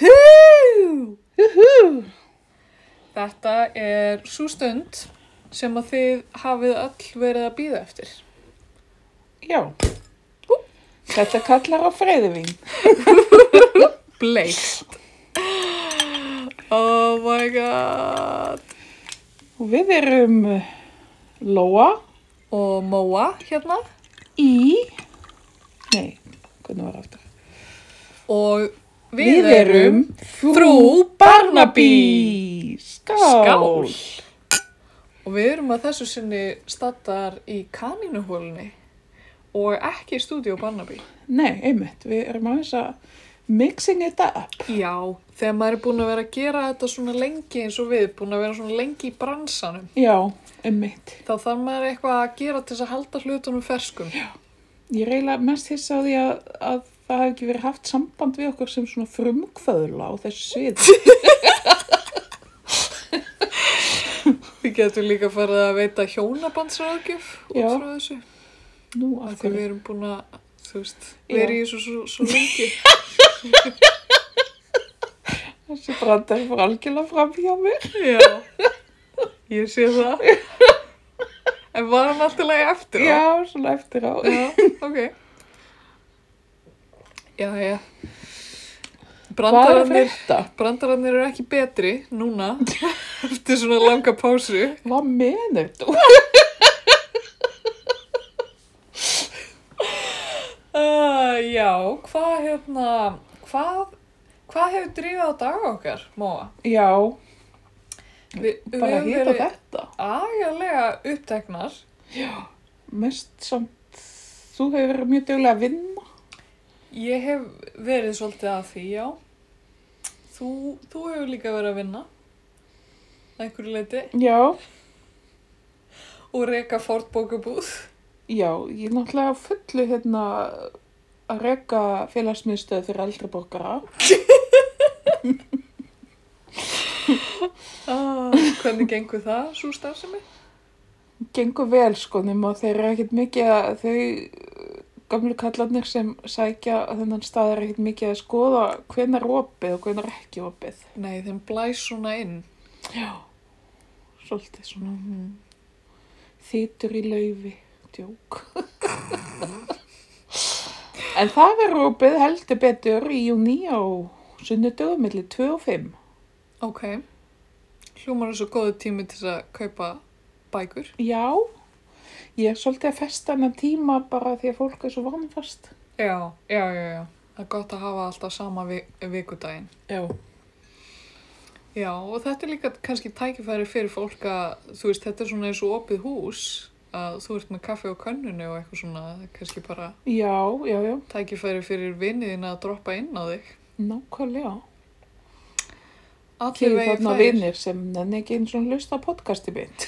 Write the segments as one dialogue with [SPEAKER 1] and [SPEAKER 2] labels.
[SPEAKER 1] Woohoo!
[SPEAKER 2] Juhu!
[SPEAKER 1] Þetta er svo stund sem að þið hafið öll verið að býða eftir.
[SPEAKER 2] Já. Þetta kallar á freyðivín.
[SPEAKER 1] Bleikt. Oh my god.
[SPEAKER 2] Og við erum eh, Lóa
[SPEAKER 1] Og Móa hérna
[SPEAKER 2] í... Nei, hvernig var aftur?
[SPEAKER 1] og við, erum Frú
[SPEAKER 2] Barnaby. Skál!
[SPEAKER 1] Skál. og við erum að þessu sinni staddar í kanínuhólunni og ekki í stúdíu Barnaby.
[SPEAKER 2] Nei, einmitt, við erum aðeins að mixing it up.
[SPEAKER 1] Já, þegar maður er búin að vera að gera þetta svona lengi eins og við, búin að vera svona lengi í bransanum,
[SPEAKER 2] Já, einmitt.
[SPEAKER 1] þá þarf maður eitthvað að gera til þess að halda hlutunum ferskum. Já.
[SPEAKER 2] Ég reyla mest hissa á því að, að það hef ekki verið haft samband við okkur sem svona frumkvöðla á þessu svið.
[SPEAKER 1] Við getum líka farið að veita hjónabandsráðgjöf út
[SPEAKER 2] Já.
[SPEAKER 1] frá þessu.
[SPEAKER 2] Nú,
[SPEAKER 1] Af
[SPEAKER 2] af
[SPEAKER 1] því við
[SPEAKER 2] hverju?
[SPEAKER 1] erum búin að, þú veist,
[SPEAKER 2] Já.
[SPEAKER 1] vera í þessu svo, svo lengi.
[SPEAKER 2] Þessi brandar fór algjörlega fram hjá mér.
[SPEAKER 1] Já, ég sé það. En var hann alltaf lagi eftir á?
[SPEAKER 2] Já, svona eftir á.
[SPEAKER 1] Já, ok. Já, já. Brandararnir,
[SPEAKER 2] frétta?
[SPEAKER 1] brandararnir eru ekki betri núna eftir svona langa pásu.
[SPEAKER 2] Hvað menur þú?
[SPEAKER 1] Uh, já, hvað hérna, hvað, hvað hefur drífað á dag okkar, Móa?
[SPEAKER 2] Já,
[SPEAKER 1] Vi,
[SPEAKER 2] bara
[SPEAKER 1] höfum
[SPEAKER 2] hýta
[SPEAKER 1] verið
[SPEAKER 2] þetta.
[SPEAKER 1] Agalega uppteknar.
[SPEAKER 2] Mest samt, þú hefur verið mjög duglega að vinna.
[SPEAKER 1] Ég hef verið svolítið að því, já. Þú, þú hefur líka verið að vinna. Að einhverju leiti.
[SPEAKER 2] Já.
[SPEAKER 1] Og reyka fortbókabúð.
[SPEAKER 2] Já, ég er náttúrulega á fullu hérna að reka félagsmiðstöð fyrir eldri borgara.
[SPEAKER 1] Ah, hvernig gengur það, svo starfsemi?
[SPEAKER 2] Gengur vel sko, nema þeir eru ekkert mikið að þau uh, gamlu kallarnir sem sækja þennan stað er ekkert mikið að skoða hvenar opið og hvenar ekki opið.
[SPEAKER 1] Nei, þeim blæs svona inn.
[SPEAKER 2] Svolítið svona þýtur í laufi, djók. en það verður opið heldur betur í júni á sunnudögum millir 2 og 5.
[SPEAKER 1] Ok. Hljómar þessu góðu tími til þess að kaupa bækur.
[SPEAKER 2] Já, ég er svolítið að festa hennan tíma bara því að fólk er svo vanfast.
[SPEAKER 1] Já, já, já, já. Það er gott að hafa alltaf sama vi vikudaginn.
[SPEAKER 2] Já.
[SPEAKER 1] Já, og þetta er líka kannski tækifæri fyrir fólk að, þú veist, þetta er svona eins og opið hús, að þú ert með kaffe og könnunni og eitthvað svona, það er kannski bara
[SPEAKER 2] Já, já, já,
[SPEAKER 1] tækifæri fyrir vinniðin að droppa inn á þig.
[SPEAKER 2] nákvæmlega.
[SPEAKER 1] Allir
[SPEAKER 2] Þið
[SPEAKER 1] vegi
[SPEAKER 2] þarna
[SPEAKER 1] færir.
[SPEAKER 2] vinir sem nenni ekki eins og hlusta á podcasti mitt.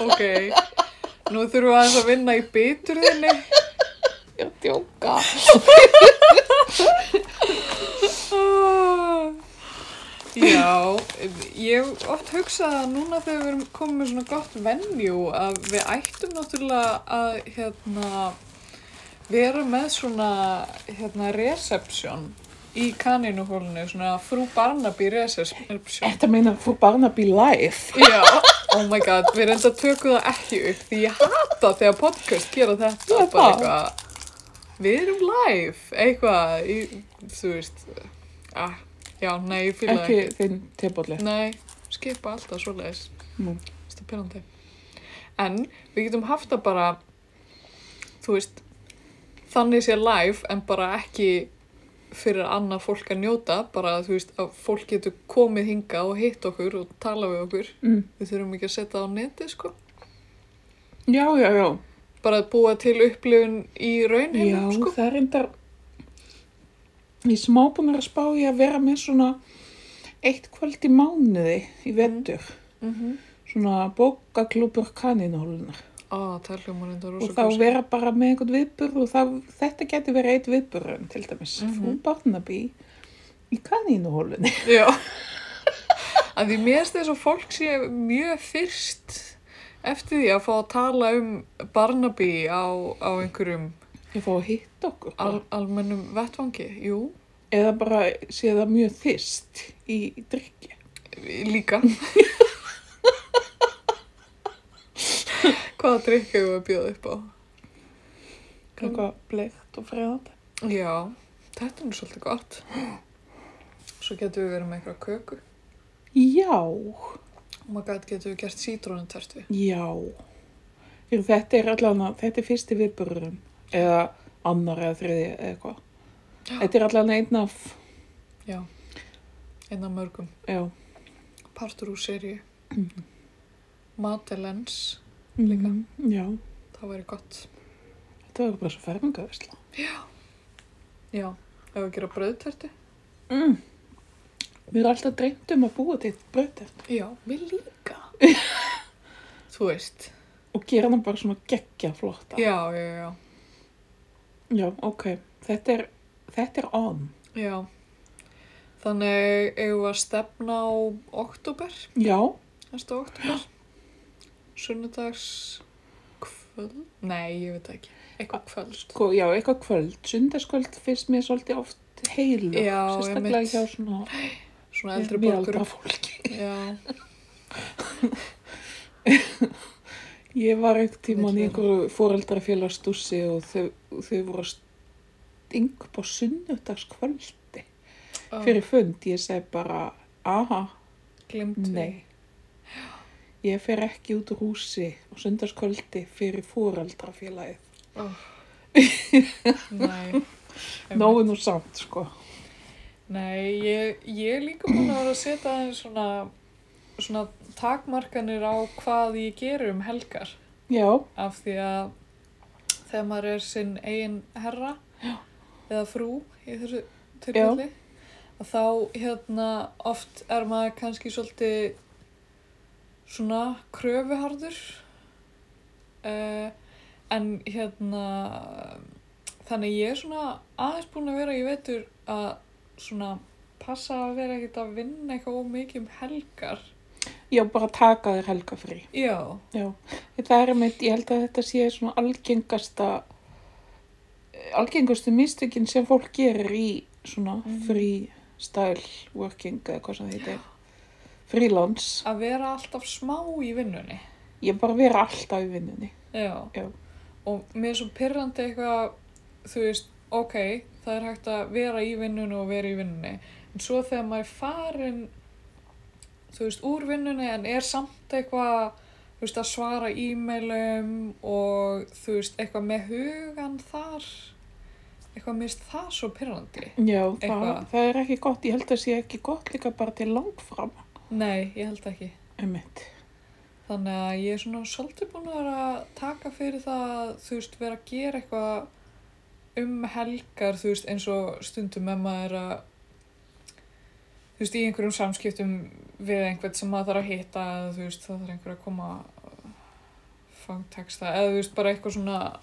[SPEAKER 1] Ok, nú þurfum við aðeins að vinna í biturðinni.
[SPEAKER 2] Já, djóka.
[SPEAKER 1] Ah. Já, ég hef oft hugsað að núna þegar við erum komið með svona gott venjú að við ættum náttúrulega að hérna, vera með svona hérna, reception í kanínuhólinu, svona frú Barnaby reception.
[SPEAKER 2] Þetta meina frú Barnaby live.
[SPEAKER 1] Já, oh my god, við reynda tökum það ekki upp því ég hata þegar podcast gera þetta
[SPEAKER 2] Já,
[SPEAKER 1] bara
[SPEAKER 2] það.
[SPEAKER 1] eitthvað, við erum live, eitthvað, í, þú veist, ah, já, nei, ég fýla
[SPEAKER 2] Ekki
[SPEAKER 1] ekki.
[SPEAKER 2] þinn tebólið.
[SPEAKER 1] Nei, skipa alltaf svoleiðis.
[SPEAKER 2] Nú.
[SPEAKER 1] Þetta er pyrrandi. En við getum haft það bara, þú veist, þannig sé live en bara ekki fyrir annað fólk að njóta, bara þú veist að fólk getur komið hingað og hitt okkur og tala við okkur.
[SPEAKER 2] Mm.
[SPEAKER 1] Við þurfum ekki að setja það á neti, sko.
[SPEAKER 2] Já, já, já.
[SPEAKER 1] Bara að búa til upplifun í
[SPEAKER 2] Já,
[SPEAKER 1] raunheimum, sko.
[SPEAKER 2] það er endar... Ég er smá búin að spá í að vera með svona eitt kvöld í mánuði í vetur.
[SPEAKER 1] Mm
[SPEAKER 2] Mhm.
[SPEAKER 1] -hmm.
[SPEAKER 2] Svona bókaklúpur kanínhólunar.
[SPEAKER 1] Á, það hljómar enda rosa
[SPEAKER 2] og þá vera bara með einhvern viðburð og það, þetta getur verið eitt viðburðun til dæmis,
[SPEAKER 1] Mhm.
[SPEAKER 2] frú Barnaby í kanínuhólunni
[SPEAKER 1] Já. Að því mér finnst þess að fólk sé mjög fyrst eftir því að fá að tala um Barnaby á, á einhverjum Ah.
[SPEAKER 2] ég fá að hitta okkur bara.
[SPEAKER 1] al, almennum vettvangi. Jú,
[SPEAKER 2] eða bara sé það mjög þyst í drikki.
[SPEAKER 1] Líka. Hvaða drikk hefur við að bjóða upp á?
[SPEAKER 2] Eitthvað bleikt og freðandi.
[SPEAKER 1] Já, þetta er nú svolítið gott. Svo getum við verið með eitthvað köku.
[SPEAKER 2] Já,
[SPEAKER 1] Og maður gæti Oh getum við gert sítrónutertu.
[SPEAKER 2] já. Fyrir þetta er allan að, þetta er fyrsti viðburðurinn eða annar eða þriði eða eitthvað.
[SPEAKER 1] Já.
[SPEAKER 2] Þetta er allan einn af,
[SPEAKER 1] Já, einn af mörgum.
[SPEAKER 2] já.
[SPEAKER 1] Partur úr seríu. Mhm. Madelens, Líka.
[SPEAKER 2] Líka. Já,
[SPEAKER 1] það væri gott.
[SPEAKER 2] þetta var bara svo fermingavisla.
[SPEAKER 1] Já, ef við gera brauðtertu.
[SPEAKER 2] Mm. Mér er alltaf dreymt um að búa til hérna bröðið
[SPEAKER 1] Já, við líka. Þú veist.
[SPEAKER 2] og gera hann bara svona geggja flotta.
[SPEAKER 1] Já, já, já.
[SPEAKER 2] Já, ok. Þetta er, þetta er on.
[SPEAKER 1] Já. Þannig eigum við að stefna á oktober,
[SPEAKER 2] Já,
[SPEAKER 1] næsta oktober. Sunnudags kvöld? Nei, ég veit það ekki. Eitthvað kvöld.
[SPEAKER 2] sko, já, eitthvað kvöld. Sundarskvöld finnst mér svolítið oft heilu.
[SPEAKER 1] Já,
[SPEAKER 2] Sérstaklega
[SPEAKER 1] einmitt.
[SPEAKER 2] hjá svona
[SPEAKER 1] Svona eldri
[SPEAKER 2] miðaldra
[SPEAKER 1] borgur.
[SPEAKER 2] fólki.
[SPEAKER 1] Já,
[SPEAKER 2] Ég var eitt tíman í
[SPEAKER 1] Vill vera.
[SPEAKER 2] einhverju foreldrafélagsdússi og þau, þau voru að stinga upp á sunnudagskvöldi
[SPEAKER 1] Ó,
[SPEAKER 2] fyrir fund. Ég segi bara, aha,
[SPEAKER 1] glemt við.
[SPEAKER 2] nei. Ég fer ekki út úr húsi á sundarskvöldi fyrir foreldrafélagið.
[SPEAKER 1] Nei.
[SPEAKER 2] Nóðu nú samt, sko.
[SPEAKER 1] Nei, ég, ég er líka búin að vera að setja aðeins svona, svona takmarkanir á hvað ég gerir um helgar.
[SPEAKER 2] Já,
[SPEAKER 1] af því að þegar maður er sinn eigin herra eða frú í þessu tilfelli að þá hérna oft er maður kannski svolítið svona kröfuhardur uh, en hérna þannig ég er svona aðeins búin að vera ég veitur að svona passa að vera ekkert að vinna eitthvað ómikið um helgar
[SPEAKER 2] já, bara taka þér helga frí.
[SPEAKER 1] já,
[SPEAKER 2] Já, það er mitt, ég held að þetta sé svona algengasta, algengastu mistökin sem fólk gerir í svona
[SPEAKER 1] Mhm.
[SPEAKER 2] freestyle working eða hvað sem þetta er, freelance.
[SPEAKER 1] að vera alltaf smá í vinnunni
[SPEAKER 2] Ég bara vera alltaf í vinnunni.
[SPEAKER 1] Já.
[SPEAKER 2] Já.
[SPEAKER 1] Og mér er svo pyrrandi eitthvað, þú veist, ok, það er hægt að vera í vinnunni og vera í vinnunni. En svo þegar maður er farin, þú veist, úr vinnunni en er samt eitthvað, þú veist, að svara e-mailum og þú veist, eitthvað með hugan þar, eitthvað mér finnst það svo pyrrandi.
[SPEAKER 2] Já, það,
[SPEAKER 1] Eitthvað.
[SPEAKER 2] það er ekki gott, ég held að það sé ekki gott líka bara til langfram,
[SPEAKER 1] Nei, ég held ekki.
[SPEAKER 2] einmitt.
[SPEAKER 1] Þannig að ég er svona svolítið búin að vera að taka fyrir það, að, þú veist, vera að gera eitthvað um helgar, þú veist, eins og stundum ef maður er að, þú veist, í einhverjum samskiptum við einhvern sem maður þarf að hitta, eða, þú veist, það þarf einhver að koma að fangteksta, eða þú veist, bara eitthvað svona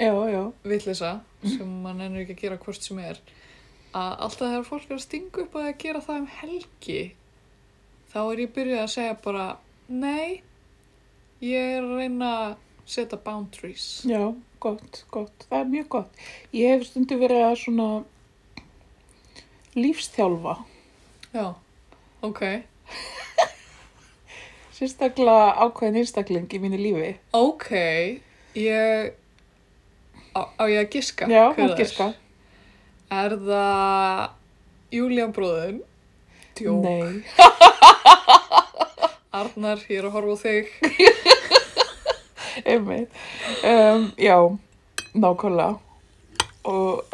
[SPEAKER 2] Já, já,
[SPEAKER 1] villisa sem maður nennir ekki að gera hvort sem er, að alltaf þegar fólk er að stinga upp að gera það um helgi, þá er ég byrjuð að segja bara, nei, ég er að reyna að setja boundaries.
[SPEAKER 2] já, gott, gott, það er mjög gott. Ég hef stundu verið að svona lífstjálfa.
[SPEAKER 1] Já, ok.
[SPEAKER 2] Sérstaklega ákveðin einstakling í mínu lífi.
[SPEAKER 1] Ok, ég, á, á ég að giska?
[SPEAKER 2] Já,
[SPEAKER 1] hver það
[SPEAKER 2] hann giska.
[SPEAKER 1] Er Er það Julian bróðin? Djók.
[SPEAKER 2] Nei.
[SPEAKER 1] Arnar, ég er að horfa á þig.
[SPEAKER 2] Einmitt. Um, já, nákvæmlega. Og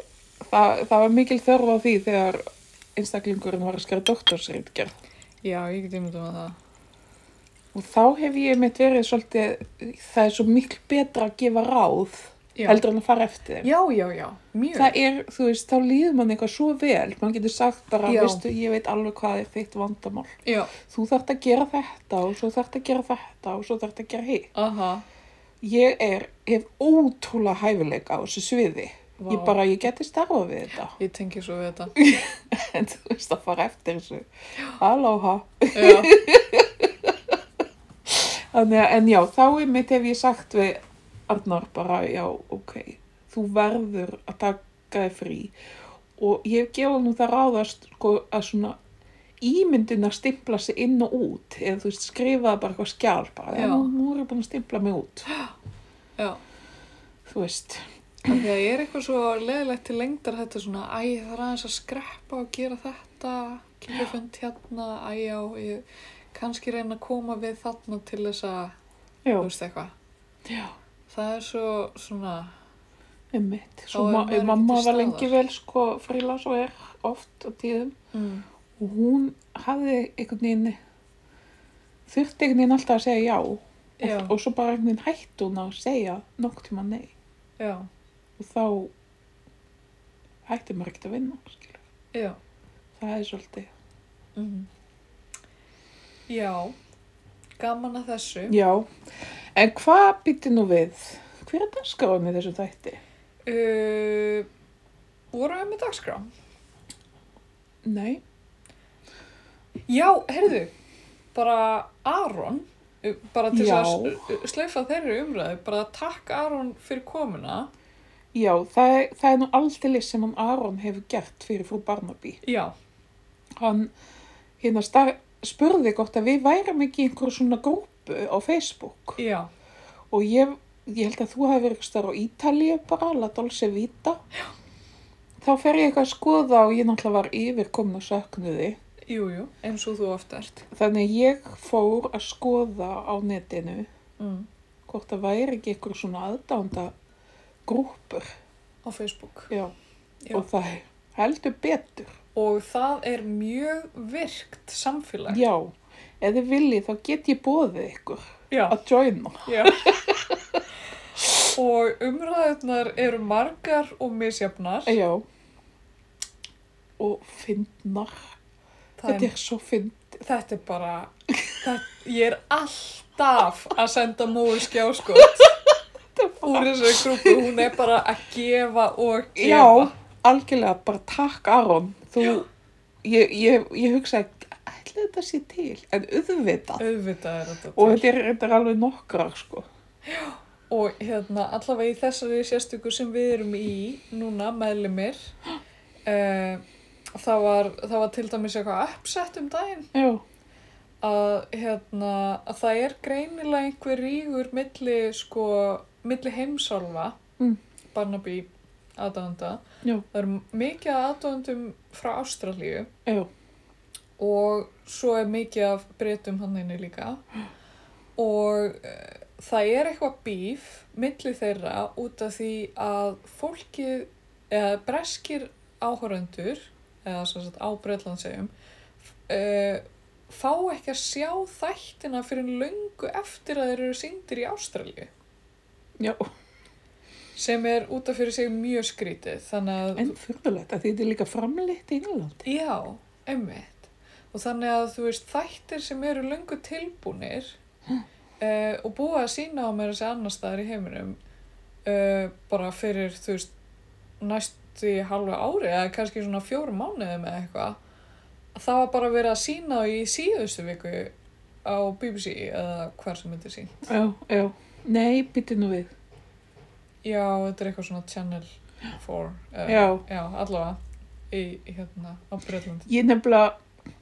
[SPEAKER 2] það, það var mikil þörf á því þegar einstaklingurinn var að skjara doktorsreitgerð.
[SPEAKER 1] Já, ég get ímyndum að það.
[SPEAKER 2] Og þá hef ég mitt verið svolítið, það er svo mikil betra að gefa ráð
[SPEAKER 1] Já.
[SPEAKER 2] heldur en að fara eftir þeim.
[SPEAKER 1] Já, já, já, mjög.
[SPEAKER 2] Það er, þú veist, þá líður mann eitthvað svo vel. Man getur sagt bara,
[SPEAKER 1] Já.
[SPEAKER 2] veistu, ég veit alveg hvað er þitt vandamál.
[SPEAKER 1] Já,
[SPEAKER 2] Þú þarft að gera þetta og svo þarft að gera þetta og svo þarft að gera hitt.
[SPEAKER 1] aha.
[SPEAKER 2] Ég er, hef ótrúlega hæfileika á þessu sviði.
[SPEAKER 1] Vá.
[SPEAKER 2] Ég bara, ég geti starfað við þetta.
[SPEAKER 1] Ég tengi svo við þetta.
[SPEAKER 2] En þú veist að fara eftir þessu. Aloha.
[SPEAKER 1] Já,
[SPEAKER 2] Þannig að, en já, þá er mitt hef ég sagt við Arnar bara, já, ok, þú verður að taka þig frí og ég hef gefað nú það ráðast sko, að svona ímyndin að stimpla sig inn og út eða þú veist skrifaði bara eitthvað skjál bara,
[SPEAKER 1] Já.
[SPEAKER 2] já, nú, nú er ég búin að stimpla mig út
[SPEAKER 1] Já.
[SPEAKER 2] þú veist,
[SPEAKER 1] Af því að ég er eitthvað svo leðilegt til lengdar þetta svona, æ, það er aðeins að skreppa og gera þetta, kemur fund hérna, æ, já, ég kannski reyna að koma við þarna til þess að,
[SPEAKER 2] já,
[SPEAKER 1] þú veist eitthvað.
[SPEAKER 2] já
[SPEAKER 1] Það er svo svona,
[SPEAKER 2] einmitt, svo
[SPEAKER 1] Þá er
[SPEAKER 2] ma
[SPEAKER 1] maður ekki
[SPEAKER 2] mamma
[SPEAKER 1] til
[SPEAKER 2] var
[SPEAKER 1] staðar.
[SPEAKER 2] lengi vel sko frílans og er oft á tíðum
[SPEAKER 1] mm,
[SPEAKER 2] og hún hafði einhvern veginn þurfti einhvern veginn alltaf að segja já og,
[SPEAKER 1] já,
[SPEAKER 2] og svo bara einhvern veginn hætti hún að segja nokk tíma nei
[SPEAKER 1] já,
[SPEAKER 2] og þá hætti maður ekkert að vinna skilur.
[SPEAKER 1] já,
[SPEAKER 2] það er svolítið
[SPEAKER 1] mm. já, gaman að þessu.
[SPEAKER 2] já, en hvað býtti nú við hver er dagskráin í þessum þætti?
[SPEAKER 1] Uh, vorum við með dagskrá?
[SPEAKER 2] nei,
[SPEAKER 1] Já, heyrðu, bara Aron, uh, bara til
[SPEAKER 2] Já.
[SPEAKER 1] að s- slaufa þeirri umræðu, bara takk Aron fyrir komuna.
[SPEAKER 2] já, það er, það er nú aldrei sem hann Aron hefur gert fyrir frú Barnaby
[SPEAKER 1] Já,
[SPEAKER 2] hann hérna star, spurði gott að við værum ekki í einhverju svona grúpu á Facebook
[SPEAKER 1] já,
[SPEAKER 2] og ég, ég held að þú hafi verið eitthvað á Ítalíu bara, La Dolce Vita já. þá fer ég eitthvað að skoða og ég náttúrulega var yfir komin og söknuði
[SPEAKER 1] jú, jú, eins og þú oft ert.
[SPEAKER 2] þannig að ég fór að skoða á netinu
[SPEAKER 1] Mm.
[SPEAKER 2] hvort það væri ekki einhverju svona aðdánda grúpur
[SPEAKER 1] Á Facebook.
[SPEAKER 2] já.
[SPEAKER 1] Já.
[SPEAKER 2] og það er heldur betur
[SPEAKER 1] Og það er mjög virkt samfélag.
[SPEAKER 2] já, ef þið viljið þá get ég bóðið ykkur
[SPEAKER 1] Já,
[SPEAKER 2] að joina
[SPEAKER 1] já. og umræðunar eru margar og misjafnar.
[SPEAKER 2] Já. Og fyndnar.
[SPEAKER 1] Það
[SPEAKER 2] Þetta
[SPEAKER 1] er,
[SPEAKER 2] er svo fynd.
[SPEAKER 1] þetta er bara, það, ég er alltaf að senda sko. móðu skjáskot. úr þessari grúpu, hún er bara að gefa og gefa.
[SPEAKER 2] Já, algjörlega bara takk Aron. Þú, ég, ég, ég hugsa ekki, ætla þetta sé til, en auðvitað.
[SPEAKER 1] Auðvitað er þetta
[SPEAKER 2] Og
[SPEAKER 1] til.
[SPEAKER 2] þetta er, þetta er alveg nokkrar, sko.
[SPEAKER 1] Og hérna, allavega í þessari sérstöku sem við erum í núna, meðlumir, uh, það, var, það var til dæmis eitthvað uppsett um daginn
[SPEAKER 2] Já,
[SPEAKER 1] að, hérna, að það er greinilega einhver rígur milli, sko, milli heimsálfa,
[SPEAKER 2] Mm.
[SPEAKER 1] Barnaby aðdóðanda.
[SPEAKER 2] Já.
[SPEAKER 1] Það eru mikið aðdóðandum frá Ástralíu.
[SPEAKER 2] já,
[SPEAKER 1] og svo er mikið af breytum hann inni líka og uh, það er eitthvað bíf milli þeirra út af því að fólkið eða breskir áhöröndur eða sem sagt á Breitlandsegjum uh, fá ekki að sjá þættina fyrir löngu eftir að þeir eru sýndir í Ástralju
[SPEAKER 2] já.
[SPEAKER 1] sem er út af fyrir sig mjög skrítið þannig að
[SPEAKER 2] En fyrðulegt að þetta er líka framleitt í England.
[SPEAKER 1] Já, einmitt. Og þannig að þú veist þættir sem eru löngu tilbúnir uh, og búið að sína á mér þessi annar staðar í heiminum uh, bara fyrir þú veist næstu í halva ári eða kannski svona fjórum mánuðum eða eitthvað það var bara verið að sína í síðustu viku á BBC eða hvar sem þetta er sín.
[SPEAKER 2] Já, já. Nei, býtti nú við.
[SPEAKER 1] Já, þetta er eitthvað svona Channel 4 eða,
[SPEAKER 2] Já.
[SPEAKER 1] já, allavega í, í hérna á Breitlandi.
[SPEAKER 2] Ég nefnilega,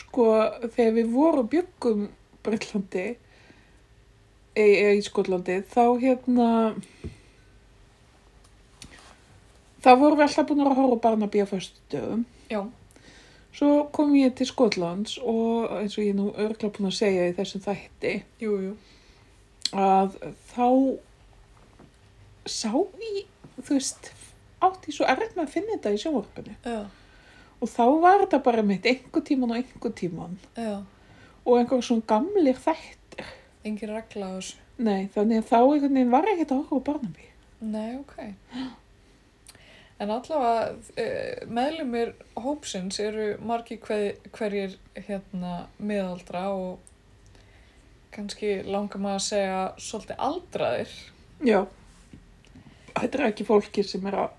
[SPEAKER 2] sko, þegar við vorum bjöggum Breitlandi, eða í Skotlandi, þá hérna, þá vorum við alltaf búin að horfa á Barnaby á föstu dögum.
[SPEAKER 1] Já,
[SPEAKER 2] Svo kom ég til Skotlands og eins og ég er nú örgla búin að segja í þessum þætti,
[SPEAKER 1] jú, jú.
[SPEAKER 2] að þá sá ég, þú veist, átti ég svo erfitt með að finna þetta í sjónvarpinu.
[SPEAKER 1] Já,
[SPEAKER 2] Og þá var þetta bara mitt einhver tíman og einhver tíman.
[SPEAKER 1] já.
[SPEAKER 2] og einhver svona gamlir þættir.
[SPEAKER 1] Engin regla á þessu.
[SPEAKER 2] Nei, þannig að þá einhvern veginn var ekkert að horfa á Barnaby.
[SPEAKER 1] Nei, ok. En allavega eh, meðlumir hópsins eru margi hver, hverjir hérna miðaldra og kannski langar maður að segja svolítið aldraðir.
[SPEAKER 2] Já. Þetta er ekki fólki sem er að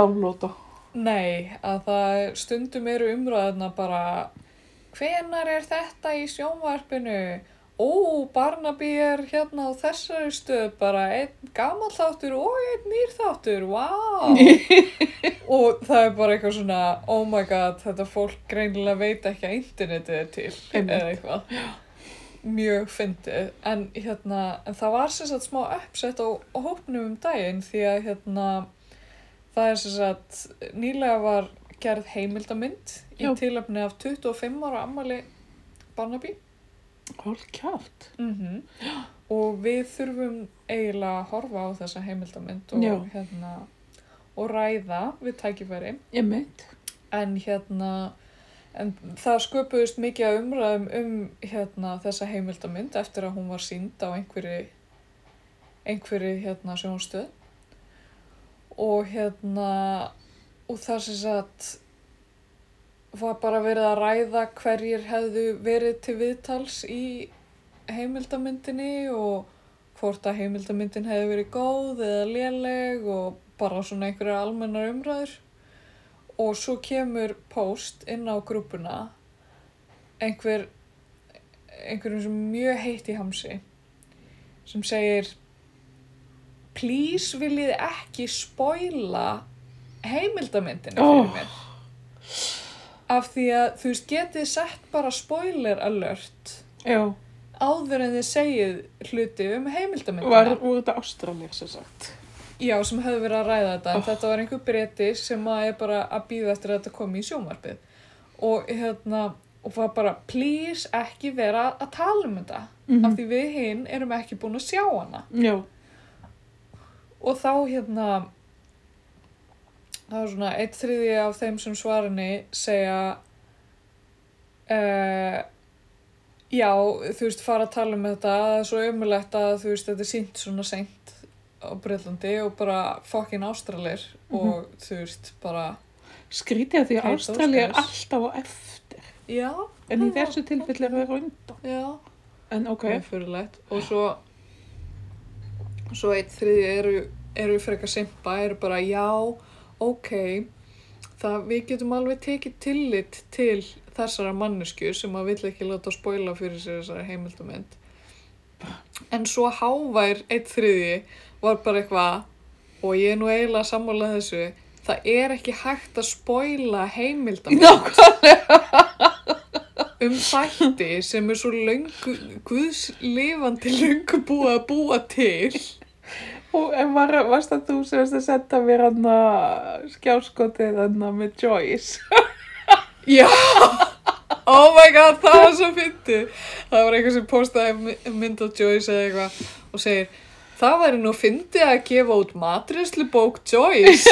[SPEAKER 2] downloada.
[SPEAKER 1] Nei, að það er- stundum eru umræðina bara hvenar er þetta í sjónvarpinu ó, Barnaby er hérna á þessari stöð bara einn gamall þáttur og einn nýr þáttur, vá! og það er bara eitthvað svona, oh my god, þetta fólk greinilega veit ekki að internetið er til,
[SPEAKER 2] Einmitt.
[SPEAKER 1] eða eitthvað. Mjög fyndið, en hérna, en það var sem sagt smá uppsett á, á hópnum um daginn því að hérna, það er sem sagt, nýlega var gerð heimildamynd í
[SPEAKER 2] Já.
[SPEAKER 1] tilöfni af 25 ára ammali Barnaby.
[SPEAKER 2] Hálf kjátt. Mhm.
[SPEAKER 1] -hmm. og við þurfum eiginlega að horfa á þessa heimildamynd
[SPEAKER 2] Já.
[SPEAKER 1] og, hérna, og ræða við tækifæri
[SPEAKER 2] Ég mynd.
[SPEAKER 1] en hérna en það sköpuðist mikið af umræðum um hérna, þessa heimildamynd eftir að hún var sínd á einhverju einhverju hérna, sjónstöð og hérna og það sem sagt var bara verið að ræða hverjir hefðu verið til viðtals í heimildamyndinni og hvort að heimildamyndin hefði verið góð eða léleg og bara svona einhverjar almennar umræður og svo kemur post inn á grúpuna einhver einhverjum sem er mjög heitt í hamsi sem segir please viljið ekki spoila heimildamyndina fyrir
[SPEAKER 2] Oh.
[SPEAKER 1] mér af því að þú veist getið sett bara spoiler alert
[SPEAKER 2] Já.
[SPEAKER 1] áður en þið segið hluti um heimildamindina
[SPEAKER 2] Var úr þetta ástralir sem sagt.
[SPEAKER 1] já, sem hefði verið að ræða þetta en
[SPEAKER 2] Oh.
[SPEAKER 1] þetta var einhver breyti sem að er bara að býða eftir að þetta komi í sjónvarpið og hérna og var bara, please ekki vera að tala um þetta
[SPEAKER 2] Mhm.
[SPEAKER 1] af því við hinn erum ekki búin að sjá hana
[SPEAKER 2] Já.
[SPEAKER 1] og þá hérna það var svona eitt þriði af þeim sem svarinni segja uh, já, þú veist, fara að tala um þetta það er svo ömulegt að þú veist, þetta er sínt svona seint á Breitlandi og bara fokkin ástralir og þú veist, bara
[SPEAKER 2] Skrítið að því að
[SPEAKER 1] Kate
[SPEAKER 2] ástralir er
[SPEAKER 1] Oscars.
[SPEAKER 2] alltaf á eftir.
[SPEAKER 1] já,
[SPEAKER 2] En í
[SPEAKER 1] Já.
[SPEAKER 2] þessu tilfelli er það rönda.
[SPEAKER 1] já
[SPEAKER 2] En Ah, ok.
[SPEAKER 1] mjög fyrirlegt og svo svo eitt þriði eru, eru frekar simpa, eru bara já ok það við getum alveg tekið tillit til þessara mannesku sem að vill ekki láta spóila fyrir sér þessara heimildumynd en svo hávær eitt þriði var bara eitthvað og ég er nú eiginlega sammálað þessu það er ekki hægt að spóila heimildamynd
[SPEAKER 2] Nákvæmlega.
[SPEAKER 1] um þætti sem er svo löngu, guðslifandi löngu búið að búa til.
[SPEAKER 2] Og en var, varst það þú sem varst að senda mér hann að skjáskotið hann að með Joyce?
[SPEAKER 1] Já! Oh my god, það var svo fyndið. Það var einhver sem postaði my- mynd á Joyce eða eitthvað og segir Það væri nú fyndið að gefa út matrislu bók Joyce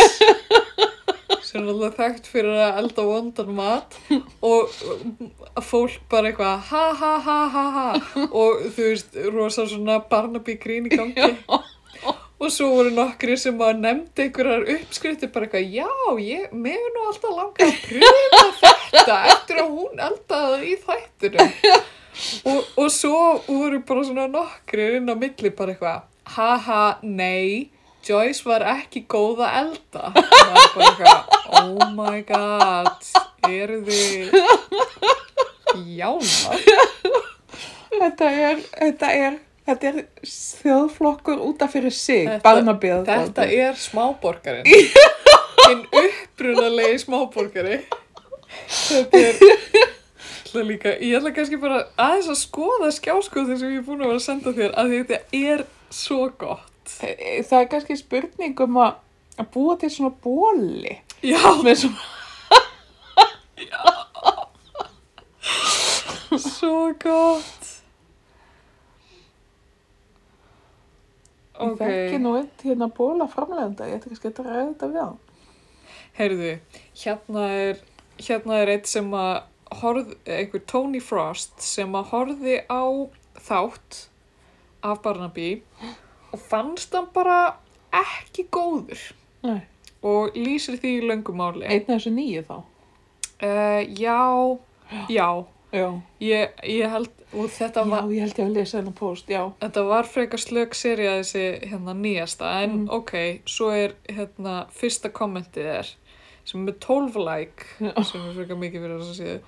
[SPEAKER 1] sem er alltaf þekkt fyrir að elda vondan mat og um, fólk bara eitthvað ha ha ha ha ha og þú veist, rosa svona Barnaby grín í gangi og svo voru nokkri sem að nefndi einhverjar uppskriftir bara eitthvað já, ég, mig er nú alltaf langað að pröfa þetta eftir að hún eldaði í þættinum og, og svo voru bara svona nokkri inn á milli bara eitthvað haha, nei Joyce var ekki góð að elda og það var bara eitthvað oh my god eru þið jánar
[SPEAKER 2] Þetta er, þetta er, þetta er þjóðflokkur útaf fyrir sig,
[SPEAKER 1] Þetta-
[SPEAKER 2] barnabíð.
[SPEAKER 1] Þetta er smáborgarinn. Hinn upprunalegi smáborgari. Þetta er... Það líka, ég ætla kannski bara aðeins að skoða skjáskóðin sem ég er búin að vera að senda þér að þetta er svo gott.
[SPEAKER 2] Það er kannski spurning um að, að búa til svona bóli.
[SPEAKER 1] Já,
[SPEAKER 2] Með svona,
[SPEAKER 1] svo gott.
[SPEAKER 2] okay. það er ekki nú eitt hérna bóla framlegenda, ég ætti kannski að ræða þetta við á.
[SPEAKER 1] Heyrðu, hérna er, hérna er eitt sem að horð, einhver Tony Frost sem að horði á þátt af Barnaby og fannst hann bara ekki góður
[SPEAKER 2] Nei.
[SPEAKER 1] og lýsir því í löngumáli.
[SPEAKER 2] Einn af þessu nýju þá.
[SPEAKER 1] Uh, já, já,
[SPEAKER 2] Já.
[SPEAKER 1] ég, ég held, og þetta
[SPEAKER 2] Já,
[SPEAKER 1] var,
[SPEAKER 2] ég held ég að lesa hennar post, já.
[SPEAKER 1] þetta var frekar slög serið þessi hérna nýjasta, en
[SPEAKER 2] Mhm.
[SPEAKER 1] ok, svo er hérna fyrsta kommentið er sem er 12 like sem er frekar mikið fyrir þess að séu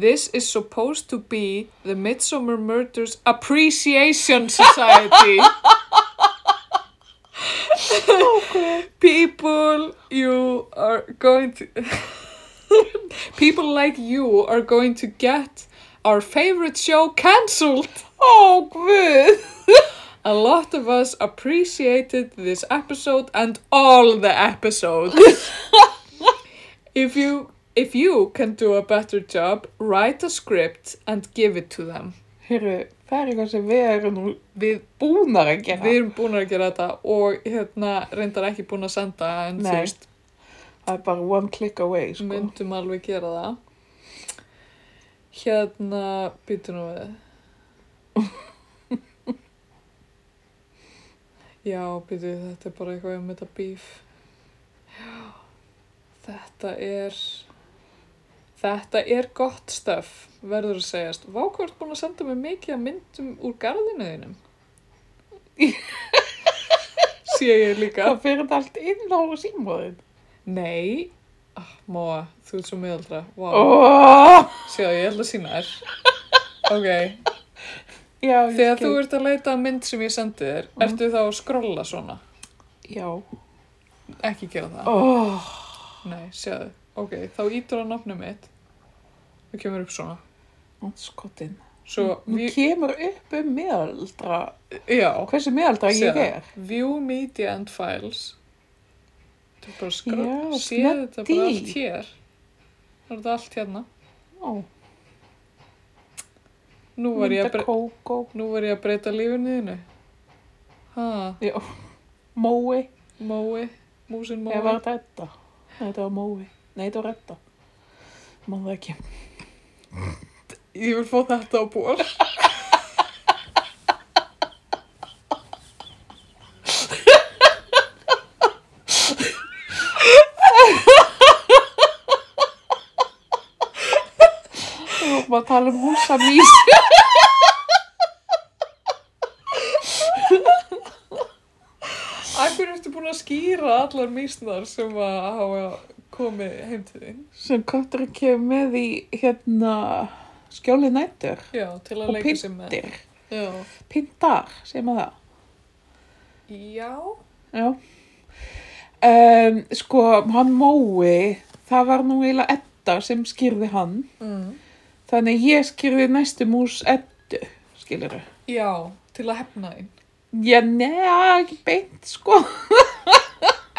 [SPEAKER 1] This is supposed to be the Midsummer Murders Appreciation Society. People you are going to People like you are going to get our favorite show cancelled.
[SPEAKER 2] Ó, guð!
[SPEAKER 1] A lot of us appreciated this episode and all the episodes. if you if you can do a better job, write a script and give it to them.
[SPEAKER 2] Heyrðu, það er eitthvað sem við erum nú
[SPEAKER 1] Við,
[SPEAKER 2] búnar að gera.
[SPEAKER 1] við erum búin að gera þetta og hérna reyndar ekki búin að senda en þú
[SPEAKER 2] Nei,
[SPEAKER 1] veist,
[SPEAKER 2] Það er bara one click away, sko.
[SPEAKER 1] myndum alveg gera það. Hérna, býtu nú við. Já, býtu, þetta er bara eitthvað um þetta bíf. Já, þetta er, þetta er gott stöf, verður að segjast. Vá, hvað ertu búin að senda mig mikið af myndum úr garðinu þínum? Sé ég líka.
[SPEAKER 2] Það fyrir þetta allt inn á símóðin.
[SPEAKER 1] Nei, ah, Móa, þú ert svo miðaldra. Vá, wow.
[SPEAKER 2] Oh!
[SPEAKER 1] sjá, ég ætla að sína þér. Ok,
[SPEAKER 2] Já, ég
[SPEAKER 1] þegar
[SPEAKER 2] skil.
[SPEAKER 1] þú ert að leita að mynd sem ég sendi þér,
[SPEAKER 2] Mhm.
[SPEAKER 1] ertu þá að skrolla svona?
[SPEAKER 2] Já.
[SPEAKER 1] Ekki gera það.
[SPEAKER 2] Oh,
[SPEAKER 1] Nei, sjáðu. Ok, þá ítur að nafnum mitt. Það kemur upp svona.
[SPEAKER 2] skotin.
[SPEAKER 1] Svo,
[SPEAKER 2] Nú
[SPEAKER 1] vi,
[SPEAKER 2] kemur upp um miðaldra,
[SPEAKER 1] já,
[SPEAKER 2] hversu miðaldra ég
[SPEAKER 1] Sérðu.
[SPEAKER 2] er.
[SPEAKER 1] View Media and Files. Þú bara skrolla,
[SPEAKER 2] Já,
[SPEAKER 1] séð þetta
[SPEAKER 2] snögg
[SPEAKER 1] bara
[SPEAKER 2] í.
[SPEAKER 1] allt hér. Það er þetta allt hérna.
[SPEAKER 2] Ó,
[SPEAKER 1] Nú var ég
[SPEAKER 2] mynda
[SPEAKER 1] að, bre
[SPEAKER 2] kókó.
[SPEAKER 1] nú var ég að breyta lífinu þínu. Hæ?
[SPEAKER 2] Já, mói.
[SPEAKER 1] Mói, músin Mói.
[SPEAKER 2] Ég var þetta þetta. Nei, þetta var mói. Nei, þetta var þetta. Má það ekki.
[SPEAKER 1] Ég vil fá þetta á ból.
[SPEAKER 2] Þú erum að tala um húsamís.
[SPEAKER 1] Akkur ertu búin að skýra allar mísnar sem að hafa komið heim til þín?
[SPEAKER 2] sem kötturinn kemur með í hérna skjóli nættur
[SPEAKER 1] Já, til að
[SPEAKER 2] og
[SPEAKER 1] leika sér með.
[SPEAKER 2] pindir,
[SPEAKER 1] Já.
[SPEAKER 2] pindar, segir maður það.
[SPEAKER 1] Já.
[SPEAKER 2] Já. Um, sko, hann Mói, það var nú eiginlega Edda sem skýrði hann,
[SPEAKER 1] Mm.
[SPEAKER 2] þannig að ég skýrði næstu mús Eddu, skilur þau.
[SPEAKER 1] Já, til að hefna þín.
[SPEAKER 2] Já, neða, ekki beint, sko.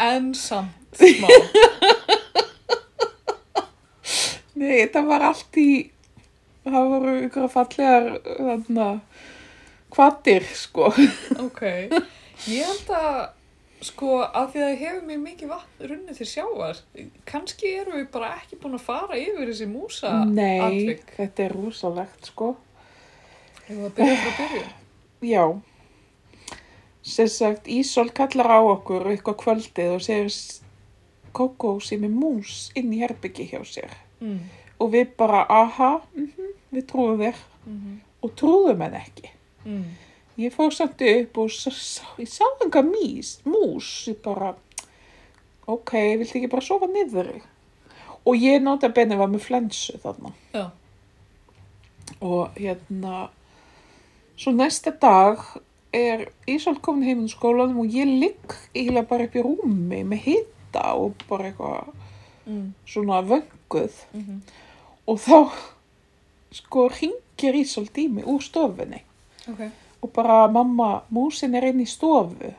[SPEAKER 1] En samt smá.
[SPEAKER 2] Nei, þetta var allt í, það voru ykkur fallegar, þarna, kvatir, sko.
[SPEAKER 1] ok. Ég held að, sko, að því að það hefur mér mikið vatn runnið til sjávar, kannski erum við bara ekki búin að fara yfir þessi músa
[SPEAKER 2] Nei,
[SPEAKER 1] atvik.
[SPEAKER 2] þetta er rosalegt, sko.
[SPEAKER 1] Ég var að byrja frá byrju.
[SPEAKER 2] Já. Sem sagt, Ísól kallar á okkur eitthvað kvöldið og segir s- Kókó sem er mús inn í herbyggi hjá sér.
[SPEAKER 1] Mm.
[SPEAKER 2] Og við bara, aha, mm við trúum þér
[SPEAKER 1] Mm
[SPEAKER 2] og trúðum henn ekki.
[SPEAKER 1] mm.
[SPEAKER 2] Ég fór samt upp og sá, sá, ég sá enga mís, mús, ég bara, ok, viltu ekki bara sofa niður? Og ég nota benni var með flensu þarna.
[SPEAKER 1] Já.
[SPEAKER 2] Og hérna, svo næsta dag er Ísald komin heim úr skólanum og ég ligg eiginlega bara upp í rúmi með hita og bara eitthvað
[SPEAKER 1] Mm.
[SPEAKER 2] svona vönguð.
[SPEAKER 1] Mm -hmm.
[SPEAKER 2] Og þá sko ringir Ísald í mig úr stofunni
[SPEAKER 1] Ok.
[SPEAKER 2] og bara mamma, músin er inn í stofu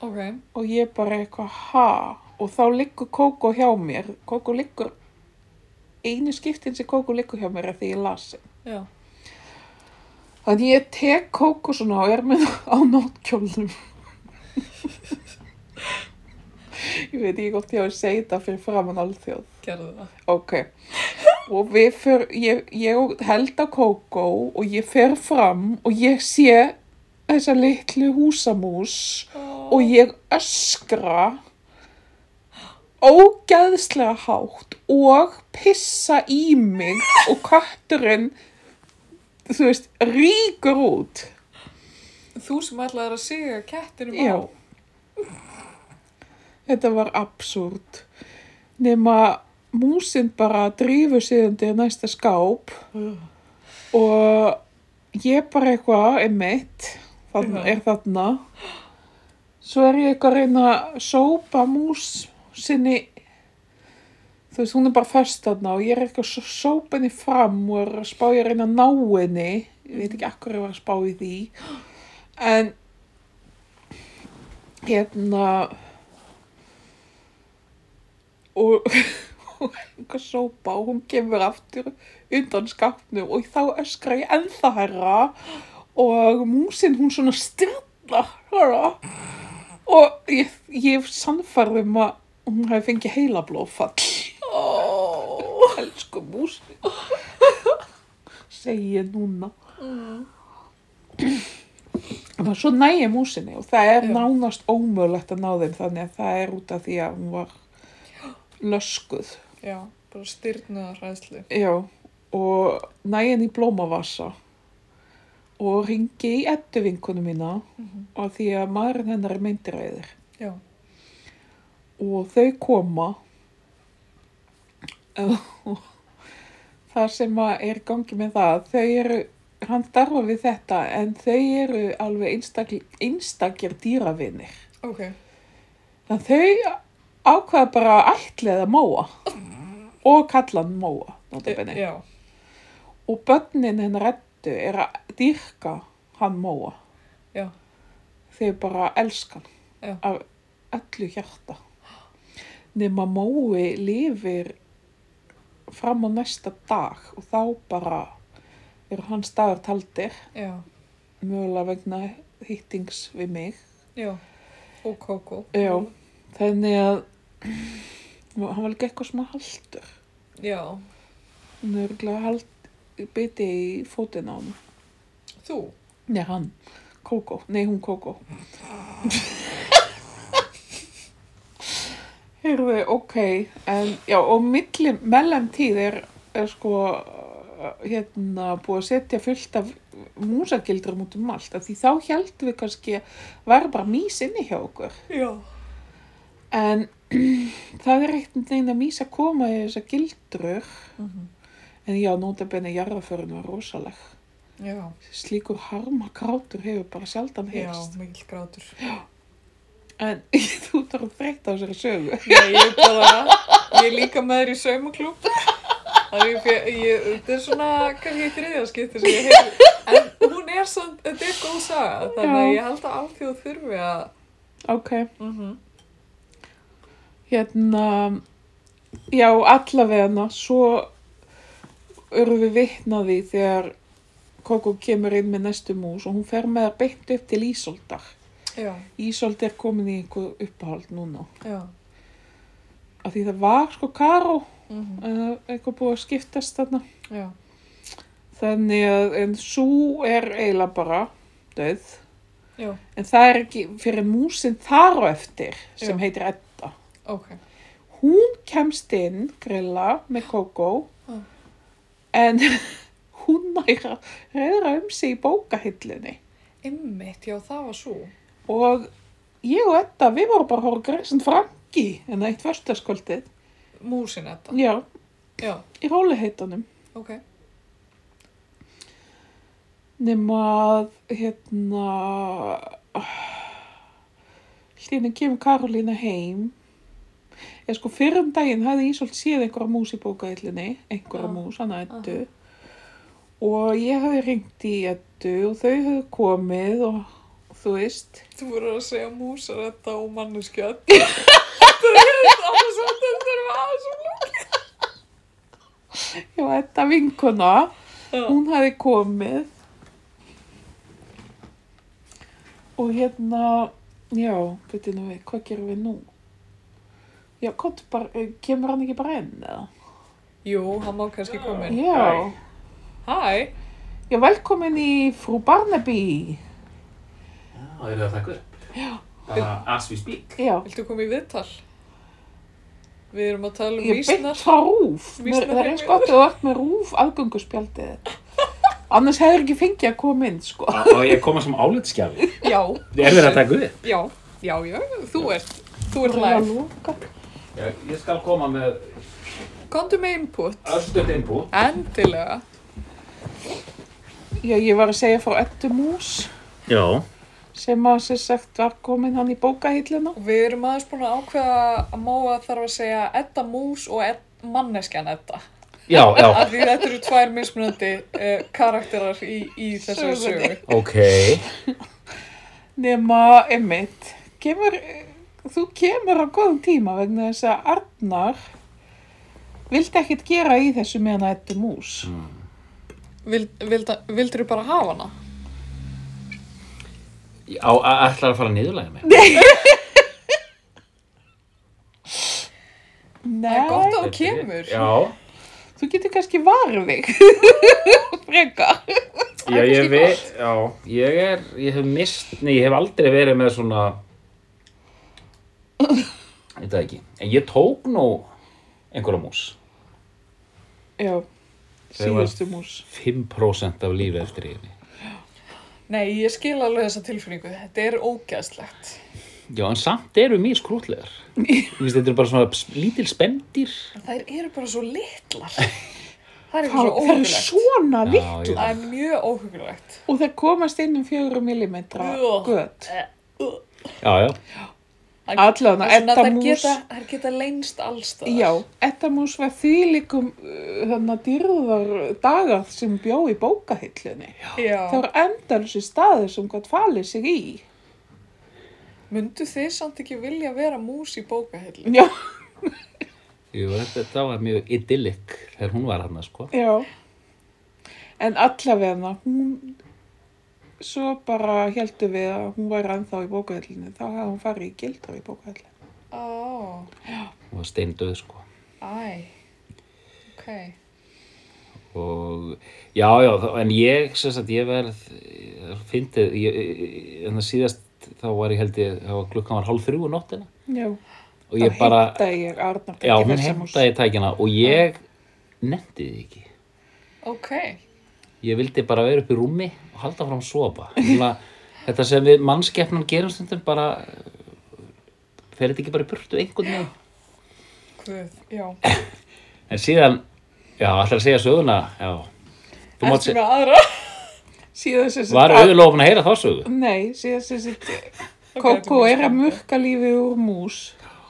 [SPEAKER 1] Ok.
[SPEAKER 2] og ég bara eitthvað ha og þá liggur Kókó hjá mér. Kókó liggur, einu skiptin sem Kókó liggur hjá mér er því ég lasi.
[SPEAKER 1] Já.
[SPEAKER 2] Þannig ég tek kókó svona og er með á náttkjólnum. ég veit ekki hvort ég á að segja þetta fyrir framann alþjóð.
[SPEAKER 1] Gerðu það.
[SPEAKER 2] Ok. Og við för, ég, ég held á kókó og ég fer fram og ég sé þessa litlu húsamús og ég öskra ógeðslega hátt og pissa í mig og katturinn, þú veist, ríkur út.
[SPEAKER 1] Þú sem ætlaði að segja kettinum
[SPEAKER 2] Já.
[SPEAKER 1] á.
[SPEAKER 2] Þetta var absúrt. Nefna músin bara drífur sig undir næsta skáp og ég bara eitthvað er mitt, þarna,
[SPEAKER 1] Já.
[SPEAKER 2] er þarna svo er ég eitthvað að reyna að sópa mús sinni þú veist, hún er bara fest þarna og ég er eitthvað að sópa henni fram og er að spá ég að reyna að ná henni ég veit ekki akkur ég var að spá í því en hérna og og eitthvað sópa og hún kemur aftur undan skapnum og þá öskra ég ennþá herra og músin hún svona styrla herra og ég, ég er sannfærð um að hún hafi fengið heilablóðfall
[SPEAKER 1] Oh.
[SPEAKER 2] elsku músin segi ég núna
[SPEAKER 1] Mm.
[SPEAKER 2] en svo næ ég músinni og það er
[SPEAKER 1] Já.
[SPEAKER 2] nánast ómögulegt að ná þeim þannig að það er út af því að hún var löskuð
[SPEAKER 1] Já, bara styrnaða hræðslu.
[SPEAKER 2] Já, og nægin í blómavasa og ringi í eddu vinkonu mína
[SPEAKER 1] Mhm.
[SPEAKER 2] og því að maðurinn hennar er myndiræðir
[SPEAKER 1] Já.
[SPEAKER 2] og þau koma og það sem að er í gangi með það, þau eru hann starfa við þetta en þau eru alveg einstakir, einstakir dýravinir
[SPEAKER 1] Ok.
[SPEAKER 2] þannig að þau ákvaða bara að ætliða móa og kalla hann móa notabene.
[SPEAKER 1] Já.
[SPEAKER 2] og börnin hennar reddu er að dýrka hann móa
[SPEAKER 1] Já.
[SPEAKER 2] þau bara elskan
[SPEAKER 1] Já.
[SPEAKER 2] af öllu hjarta nema mói lifir fram á næsta dag og þá bara eru hans dagar taldir
[SPEAKER 1] Já.
[SPEAKER 2] mögulega vegna hýttings við mig
[SPEAKER 1] Já. Og kókó.
[SPEAKER 2] já, þannig að hann var ekki eitthvað svona haldur
[SPEAKER 1] Já.
[SPEAKER 2] hann er örgulega hald biti í fótinn á hann
[SPEAKER 1] Þú.
[SPEAKER 2] Nei, hann. Kókó. Nei, hún Kókó. Heyrðu, ok. En, já, og milli, mellum tíð er, er sko uh, hérna búið að setja fullt af músagildrum út um allt. af Því þá heldum við kannski að væri bara mís inni hjá okkur.
[SPEAKER 1] Já.
[SPEAKER 2] En það er eitt neina mís að koma í þessar gildrur. En já, nótabenni jarðaförun var rosaleg.
[SPEAKER 1] Já.
[SPEAKER 2] Slíkur harmakrátur hefur bara sjaldan
[SPEAKER 1] Já,
[SPEAKER 2] heyrst.
[SPEAKER 1] mikill grátur.
[SPEAKER 2] En þú þarf að þreytta á sér sögu.
[SPEAKER 1] Nei, ég er bara, ég er líka með þér í saumaklúb. Það er, ég, ég, þetta er svona, kannski í þriðja skipti sem ég hef, en hún er svona, þetta er góð saga, þannig að
[SPEAKER 2] Já.
[SPEAKER 1] ég held að alþjóð þurfi að,
[SPEAKER 2] Ok,
[SPEAKER 1] mm -hmm.
[SPEAKER 2] hérna, já, allavegna, svo eru við vitnaði þegar Kókó kemur inn með næstu mús og hún fer með það beint upp til Ísoldar.
[SPEAKER 1] já,
[SPEAKER 2] Ísold er komin í einhver uppahald núna.
[SPEAKER 1] já,
[SPEAKER 2] Af því það var sko Karó,
[SPEAKER 1] mm
[SPEAKER 2] uh, eitthvað búið að skiptast þarna.
[SPEAKER 1] já,
[SPEAKER 2] Þannig að, en svo er eiginlega bara döð.
[SPEAKER 1] já,
[SPEAKER 2] En það er ekki fyrir músin þar á eftir sem
[SPEAKER 1] Já.
[SPEAKER 2] heitir Edda.
[SPEAKER 1] ok,
[SPEAKER 2] hún kemst inn, grilla, með Kókó,
[SPEAKER 1] Já.
[SPEAKER 2] en hún næra reyðra um sig í bókahillunni.
[SPEAKER 1] ymmit, já, það var svo,
[SPEAKER 2] Og ég og Edda, við vorum bara að horfa greiðsinn frangi en hérna eitt förstaskvöldið.
[SPEAKER 1] músin þetta,
[SPEAKER 2] Já,
[SPEAKER 1] já,
[SPEAKER 2] í róliheitunum.
[SPEAKER 1] ok,
[SPEAKER 2] Nefn að, hérna, hlýnum kemur Karolína heim. Ég sko, fyrrum daginn hafði Ísolt séð einhverja mús í bókahillunni, einhverja
[SPEAKER 1] Já.
[SPEAKER 2] mús, hann að Eddu. Og ég hafði ringt í Eddu og þau hafði komið og þú veist.
[SPEAKER 1] þú voru að segja músar þetta og manneskja þetta, þetta er alveg svo, þetta þurfa aðeins og
[SPEAKER 2] Já, Edda vinkona,
[SPEAKER 1] lóka,
[SPEAKER 2] hún hafði komið. Og hérna, já, veitir nú við, hvað gerum við nú? Já, komdu bara, eh, kemur hann ekki bara inn eða?
[SPEAKER 1] jú, hann má kannski koma inn,
[SPEAKER 2] Já,
[SPEAKER 1] hæ,
[SPEAKER 2] já, velkomin í Frú Barnaby.
[SPEAKER 3] Já, það eru að taka upp. Bara as we speak.
[SPEAKER 2] Já,
[SPEAKER 1] Viltu koma í viðtal? Við erum að tala um
[SPEAKER 2] ég beint
[SPEAKER 1] vísnar.
[SPEAKER 2] frá rúf. Mér-
[SPEAKER 1] Vísnar
[SPEAKER 2] Það er eins gott að þú ert með rúf aðgönguspjaldið. Annars hefur ekki fengið að koma inn, sko.
[SPEAKER 3] Og ég koma sem álitskjafi.
[SPEAKER 1] Já,
[SPEAKER 3] Er verið að taka upp?
[SPEAKER 1] já, já, já, þú ert, þú
[SPEAKER 2] Það
[SPEAKER 1] ert
[SPEAKER 2] er að
[SPEAKER 1] live.
[SPEAKER 2] loka.
[SPEAKER 3] Ég, ég skal koma með
[SPEAKER 1] Komdu með input.
[SPEAKER 3] Örstöld einbú.
[SPEAKER 1] Endilega.
[SPEAKER 2] Já, ég var að segja frá Eddu Mús
[SPEAKER 4] Já,
[SPEAKER 2] sem að sér sagt var komin hann í bókahillina.
[SPEAKER 1] Og við erum aðeins búin að ákveða að Móa þarf að segja Edda Mús og Ed manneskjan Edda.
[SPEAKER 4] já, já,
[SPEAKER 1] Af því þetta eru tvær mismunandi uh, karakterar í, í þessari sögu.
[SPEAKER 2] Sögunni.
[SPEAKER 4] ok.
[SPEAKER 2] Nema, einmitt, kemur, þú kemur á góðum tíma vegna þess að Arnar vildi ekkit gera í þessu meðan að Eddu Mús.
[SPEAKER 1] Vild, vilda, vildur bara hafa hana?
[SPEAKER 4] Á, a- ætlar að fara niðurlega með?
[SPEAKER 1] Það er gott
[SPEAKER 2] Nei,
[SPEAKER 1] að hún kemur.
[SPEAKER 4] Já,
[SPEAKER 2] þú getur kannski varð þig. Freka.
[SPEAKER 4] já ég veit, já, ég er, ég hef mist, nei, ég hef aldrei verið með svona, ég veit það ekki, en ég tók nú einhverja mús,
[SPEAKER 2] Já,
[SPEAKER 4] Þegar var-
[SPEAKER 2] síðustu Mús.
[SPEAKER 4] 5% af lífi eftir yfir.
[SPEAKER 1] Nei, ég skil alveg þessa tilfinningu. Þetta er ógæðslegt.
[SPEAKER 4] Já, en samt eru mjög skrútlegar. Mér finnst þetta eru bara svona sp- lítil spendir.
[SPEAKER 1] Þær eru bara svo litlar. Það er
[SPEAKER 2] Það
[SPEAKER 1] eitthvað svo
[SPEAKER 2] það eru
[SPEAKER 1] óhugulegt.
[SPEAKER 2] svona
[SPEAKER 4] Já,
[SPEAKER 2] líkt
[SPEAKER 4] ég-
[SPEAKER 1] Það er mjög óhugulegt.
[SPEAKER 2] og það komast inn um 4 mm
[SPEAKER 1] Ugh.
[SPEAKER 2] gött.
[SPEAKER 4] Já, já.
[SPEAKER 2] Allavega,
[SPEAKER 1] Svona,
[SPEAKER 2] Edda
[SPEAKER 1] þær
[SPEAKER 2] Mús-
[SPEAKER 1] geta, þær geta lengst allstað.
[SPEAKER 2] Já, þetta mús var þvílíkum þannig að dyrðar dagar sem bjó í bókahillunni.
[SPEAKER 1] Já.
[SPEAKER 2] Það voru endalsi staðir sem gott falið sig í.
[SPEAKER 1] Mundu þið samt ekki vilja vera mús í bókahillu?
[SPEAKER 2] Já,
[SPEAKER 4] Jú, þetta, þetta var mjög idyllik þegar hún var hann, sko.
[SPEAKER 2] já. En allavega, hún, svo bara heldum við að hún var ennþá í bókahillunni. Þá hafði hún farið í gildra í bókahillunni.
[SPEAKER 1] Ó,
[SPEAKER 4] Hún var steindöð, sko.
[SPEAKER 1] æ. Ok.
[SPEAKER 4] Og, já, já, þá- en ég, sem sagt, ég verð, ég fyndið, ég, ég- en það síðast, þá var ég held ég, þá var klukkan var hálf þrjú á nóttina.
[SPEAKER 2] Já,
[SPEAKER 4] Og ég bara,
[SPEAKER 2] þá heimtaði ég Arnar
[SPEAKER 4] já,
[SPEAKER 2] ekki
[SPEAKER 4] hún
[SPEAKER 2] þessa mús.
[SPEAKER 4] heimtaði tækina og ég nefndi því ekki.
[SPEAKER 1] Ok.
[SPEAKER 4] Ég vildi bara vera upp í rúmi og halda fram að sopa. Svona, þetta sem við mannskeppnum gerum stundum bara uh, fer þetta ekki bara í burtu einhvern veginn.
[SPEAKER 1] Guð, já.
[SPEAKER 4] En síðan, já, ætlar að segja söguna, já. Þú mátt
[SPEAKER 1] Ertu
[SPEAKER 4] segja,
[SPEAKER 1] með aðra?
[SPEAKER 2] Síðan sem sagt-
[SPEAKER 4] var auðvitað ofin að heyra þá sögu?
[SPEAKER 2] Nei, síðan sem sitt
[SPEAKER 1] Ok,
[SPEAKER 2] Kókó er
[SPEAKER 1] þetta er
[SPEAKER 2] að
[SPEAKER 1] spennandi.
[SPEAKER 2] murka lífið úr mús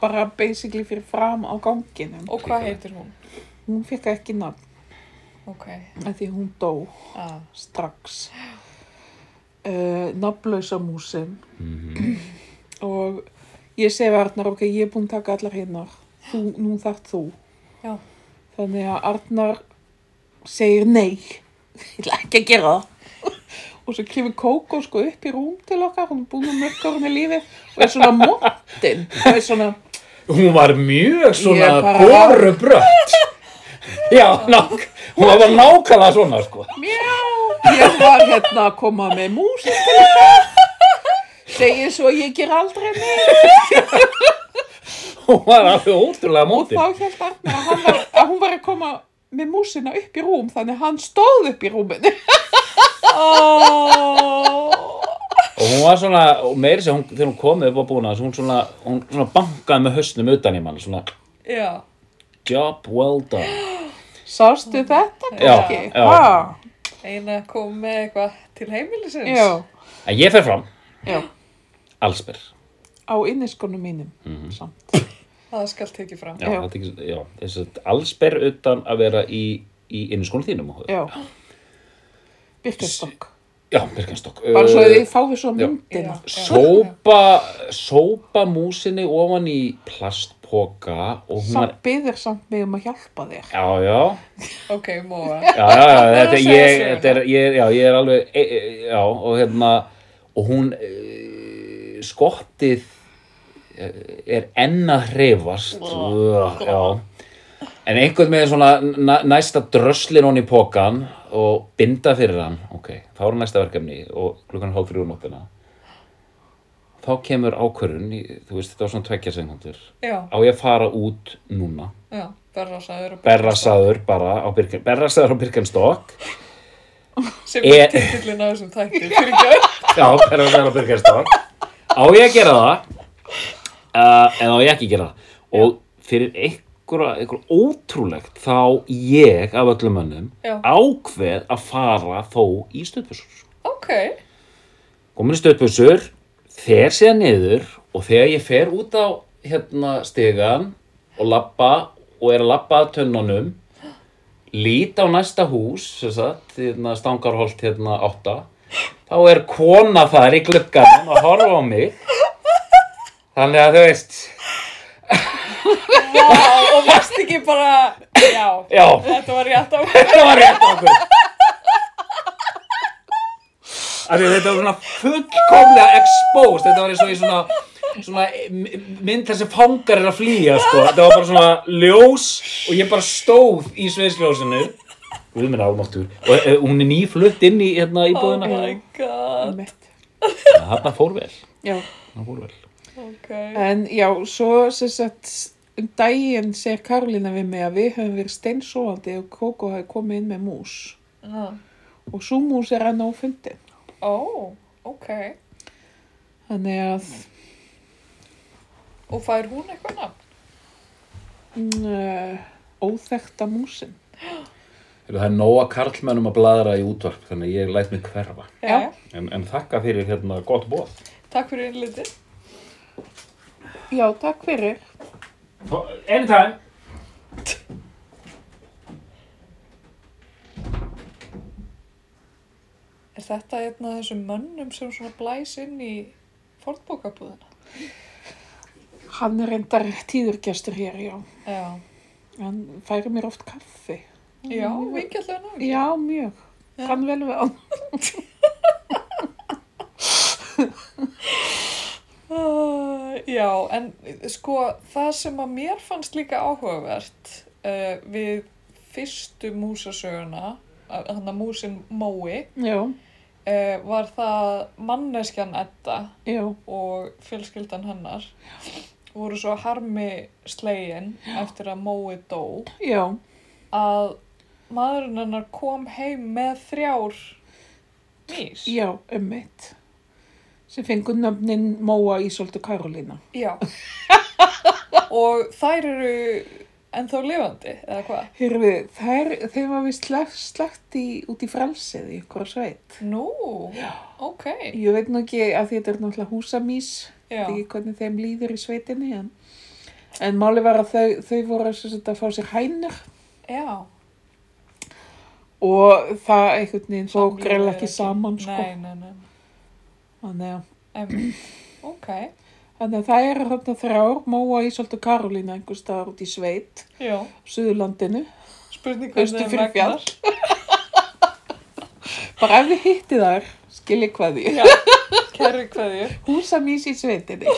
[SPEAKER 2] bara basically fyrir fram á ganginum
[SPEAKER 1] Og hvað heitir hún?
[SPEAKER 2] hún fekk ekki nafn
[SPEAKER 1] Ok.
[SPEAKER 2] af því hún dó
[SPEAKER 1] Ah.
[SPEAKER 2] strax uh, nafnlausa músin og ég segi við Arnar ok, ég er búin að taka allar hinnar þú, nú þart þú
[SPEAKER 1] Já.
[SPEAKER 2] þannig að Arnar segir nei ég ætla ekki að gera það og svo kemur Kókó sko upp í rúm til okkar hún er búin að mörka hún í lífið og er svona móttin og er svona
[SPEAKER 4] Hún var mjög svona
[SPEAKER 2] Ég bara-
[SPEAKER 4] borubrött. já, nák, hún var bara nákvæmlega svona, sko.
[SPEAKER 2] ég var hérna að koma með músin til þetta segir svo ég ger aldrei neitt
[SPEAKER 4] Hún var alveg ótrúlega
[SPEAKER 2] og
[SPEAKER 4] mótið.
[SPEAKER 2] þá held Arnar að, hann var, að hún var að koma með músina upp í rúm þannig að hann stóð upp í rúminu
[SPEAKER 1] Oh.
[SPEAKER 4] Og hún var svona, og meiri sér, hún, þegar hún kom upp á búna, hún svona, hún svona bankaði með höstnum utan í mann, svona,
[SPEAKER 1] Já.
[SPEAKER 4] job well done.
[SPEAKER 2] sástu þetta
[SPEAKER 4] Já,
[SPEAKER 2] kannski?
[SPEAKER 4] já.
[SPEAKER 2] Ha,
[SPEAKER 1] Eina kom með eitthvað til heimilisins.
[SPEAKER 2] já,
[SPEAKER 4] En ég fer fram,
[SPEAKER 2] já.
[SPEAKER 4] allsber.
[SPEAKER 2] á inniskonum mínum samt
[SPEAKER 1] Það skal tekið fram.
[SPEAKER 4] Já,
[SPEAKER 2] Já.
[SPEAKER 4] þetta er ekki- já, þess að allsber utan að vera í, í inniskónu þínum.
[SPEAKER 2] Já. Birkenstock.
[SPEAKER 4] já Birkenstock.
[SPEAKER 2] Bara svo að
[SPEAKER 4] Uh,
[SPEAKER 2] þið fáið svo
[SPEAKER 4] já.
[SPEAKER 2] myndina.
[SPEAKER 1] Já.
[SPEAKER 4] Sópa, sópa músinni ofan í plastpoka og hún var,
[SPEAKER 2] Samt byður samt mig um að hjálpa þér.
[SPEAKER 4] já, já,
[SPEAKER 1] Ok, Móa.
[SPEAKER 4] já, já, já, þetta er,
[SPEAKER 1] að segja
[SPEAKER 4] ég,
[SPEAKER 1] söguna.
[SPEAKER 4] þetta er, ég, er- já, ég er alveg, e, e, já, og hérna, og hún, e, skottið eh, er enn að hreyfast, Ugh, já, en einhvern veginn svona na- næsta dröslin hon í pokan og binda fyrir hann, ok, þá er næsta verkefni og klukkan hálf þrjú um nóttina, þá kemur ákvörun, þú veist, þetta var svona tvekja sekundur,
[SPEAKER 1] Já,
[SPEAKER 4] á ég að fara út núna?
[SPEAKER 1] já. Berrasaður og
[SPEAKER 4] berrasaður bara á Birken, berrasaður á Birkenstock
[SPEAKER 1] Sem er
[SPEAKER 4] er-
[SPEAKER 1] titillin á þessum þætti. Fyrir gæð.
[SPEAKER 4] já, berrasaður á Birkenstock á ég að gera það uh, eða á ég ekki að gera það og fyrir einhver einhverja, einhverja ótrúlegt þá ég af öllum mönnum
[SPEAKER 1] Já.
[SPEAKER 4] ákveð að fara þó í stöðbjössur.
[SPEAKER 1] Ok.
[SPEAKER 4] komin í stöðbjössur, fer síðan niður og þegar ég fer út á hérna stegan og labba og er að labba að tönnunum lít á næsta hús sem sagt, hérna stangarholt hérna átta þá er kona þar í glugganum að horfa á mig þannig að þú veist
[SPEAKER 1] Vá, og varst ekki bara, já,
[SPEAKER 4] já,
[SPEAKER 1] þetta var rétt á.
[SPEAKER 4] þetta var rétt okkur Af því að þetta var svona fullkomlega exposed þetta var eins og í svona, svona m- mynd þar sem fangar er að flýja sko. þetta var bara svona ljós og ég bara stóð í sveisljósinu Guð minn álmáttur og e, hún er nýflutt inn í hérna
[SPEAKER 1] Oh
[SPEAKER 4] íbúðina
[SPEAKER 1] my god.
[SPEAKER 2] Mitt.
[SPEAKER 4] það fór vel
[SPEAKER 2] Já.
[SPEAKER 4] það fór vel
[SPEAKER 1] Ok.
[SPEAKER 2] En já, svo sem sagt, um daginn segir Karolina við mig að við höfum verið steinsóandi og Kókó hafi komið inn með mús.
[SPEAKER 1] Ah.
[SPEAKER 2] Og svo mús er enn á fundin.
[SPEAKER 1] Ó, ok.
[SPEAKER 2] Þannig að
[SPEAKER 1] Og fær hún eitthvað nafn?
[SPEAKER 2] uh, óþekta músin.
[SPEAKER 4] það er nóga karlmennum að bladra í útvarp þannig að ég læt mig hverfa
[SPEAKER 2] Já.
[SPEAKER 4] en, en þakka fyrir hérna gott bóð
[SPEAKER 1] Eh, Takk fyrir innlitið.
[SPEAKER 2] Já, takk fyrir.
[SPEAKER 3] Anytime.
[SPEAKER 1] Er þetta einn af þessum mönnum sem svona blæs inn í fornbókabúðina?
[SPEAKER 2] Hann er reyndar tíðurgestur hér, já.
[SPEAKER 1] Já.
[SPEAKER 2] Hann færi mér oft kaffi.
[SPEAKER 1] Já, vingjallega náttúrulega.
[SPEAKER 2] Já, mjög.
[SPEAKER 1] Já.
[SPEAKER 2] Kann vel við hann.
[SPEAKER 1] Uh, já, en eh, sko það sem að mér fannst líka áhugavert uh, við fyrstu músasöguna, þannig að músin Mói,
[SPEAKER 2] Já,
[SPEAKER 1] uh, var það manneskjan Edda
[SPEAKER 2] já,
[SPEAKER 1] og fjölskyldan hennar voru svo harmi slegin eftir að Mói dó
[SPEAKER 2] já.
[SPEAKER 1] að maðurinn hennar kom heim með þrjár mís.
[SPEAKER 2] Já, ömmit. Sem fengur nöfnin Móa Ísoldu Karolína.
[SPEAKER 1] Já. og þær eru ennþá lifandi, eða hvað?
[SPEAKER 2] Hörðu, þær, þeim var við slagt, slagt í, út í frelsið í ykkur sveit.
[SPEAKER 1] Nú, ok.
[SPEAKER 2] Ég veit nú ekki að því þetta er náttúrulega húsamís,
[SPEAKER 1] Já,
[SPEAKER 2] veit ekki hvernig þeim líður í sveitinni, en, en máli var að þau, þau voru sem sagt, að fá sér hænur
[SPEAKER 1] já.
[SPEAKER 2] og það einhvern veginn fók
[SPEAKER 1] Samlífið
[SPEAKER 2] greil
[SPEAKER 1] er
[SPEAKER 2] ekki saman, sko.
[SPEAKER 1] Nei, nei, nei.
[SPEAKER 2] Þannig að,
[SPEAKER 1] Em, ok,
[SPEAKER 2] þannig að það eru þarna þrjár, Móa Ísoldu Karolína einhvers staðar út í sveit,
[SPEAKER 1] já.
[SPEAKER 2] Suðurlandinu,
[SPEAKER 1] Spurning
[SPEAKER 2] Austur fyrir bara ef þið hitti þar, skilji hvað því.
[SPEAKER 1] Já, kæri hverju.
[SPEAKER 2] Húsamís í sveitinni.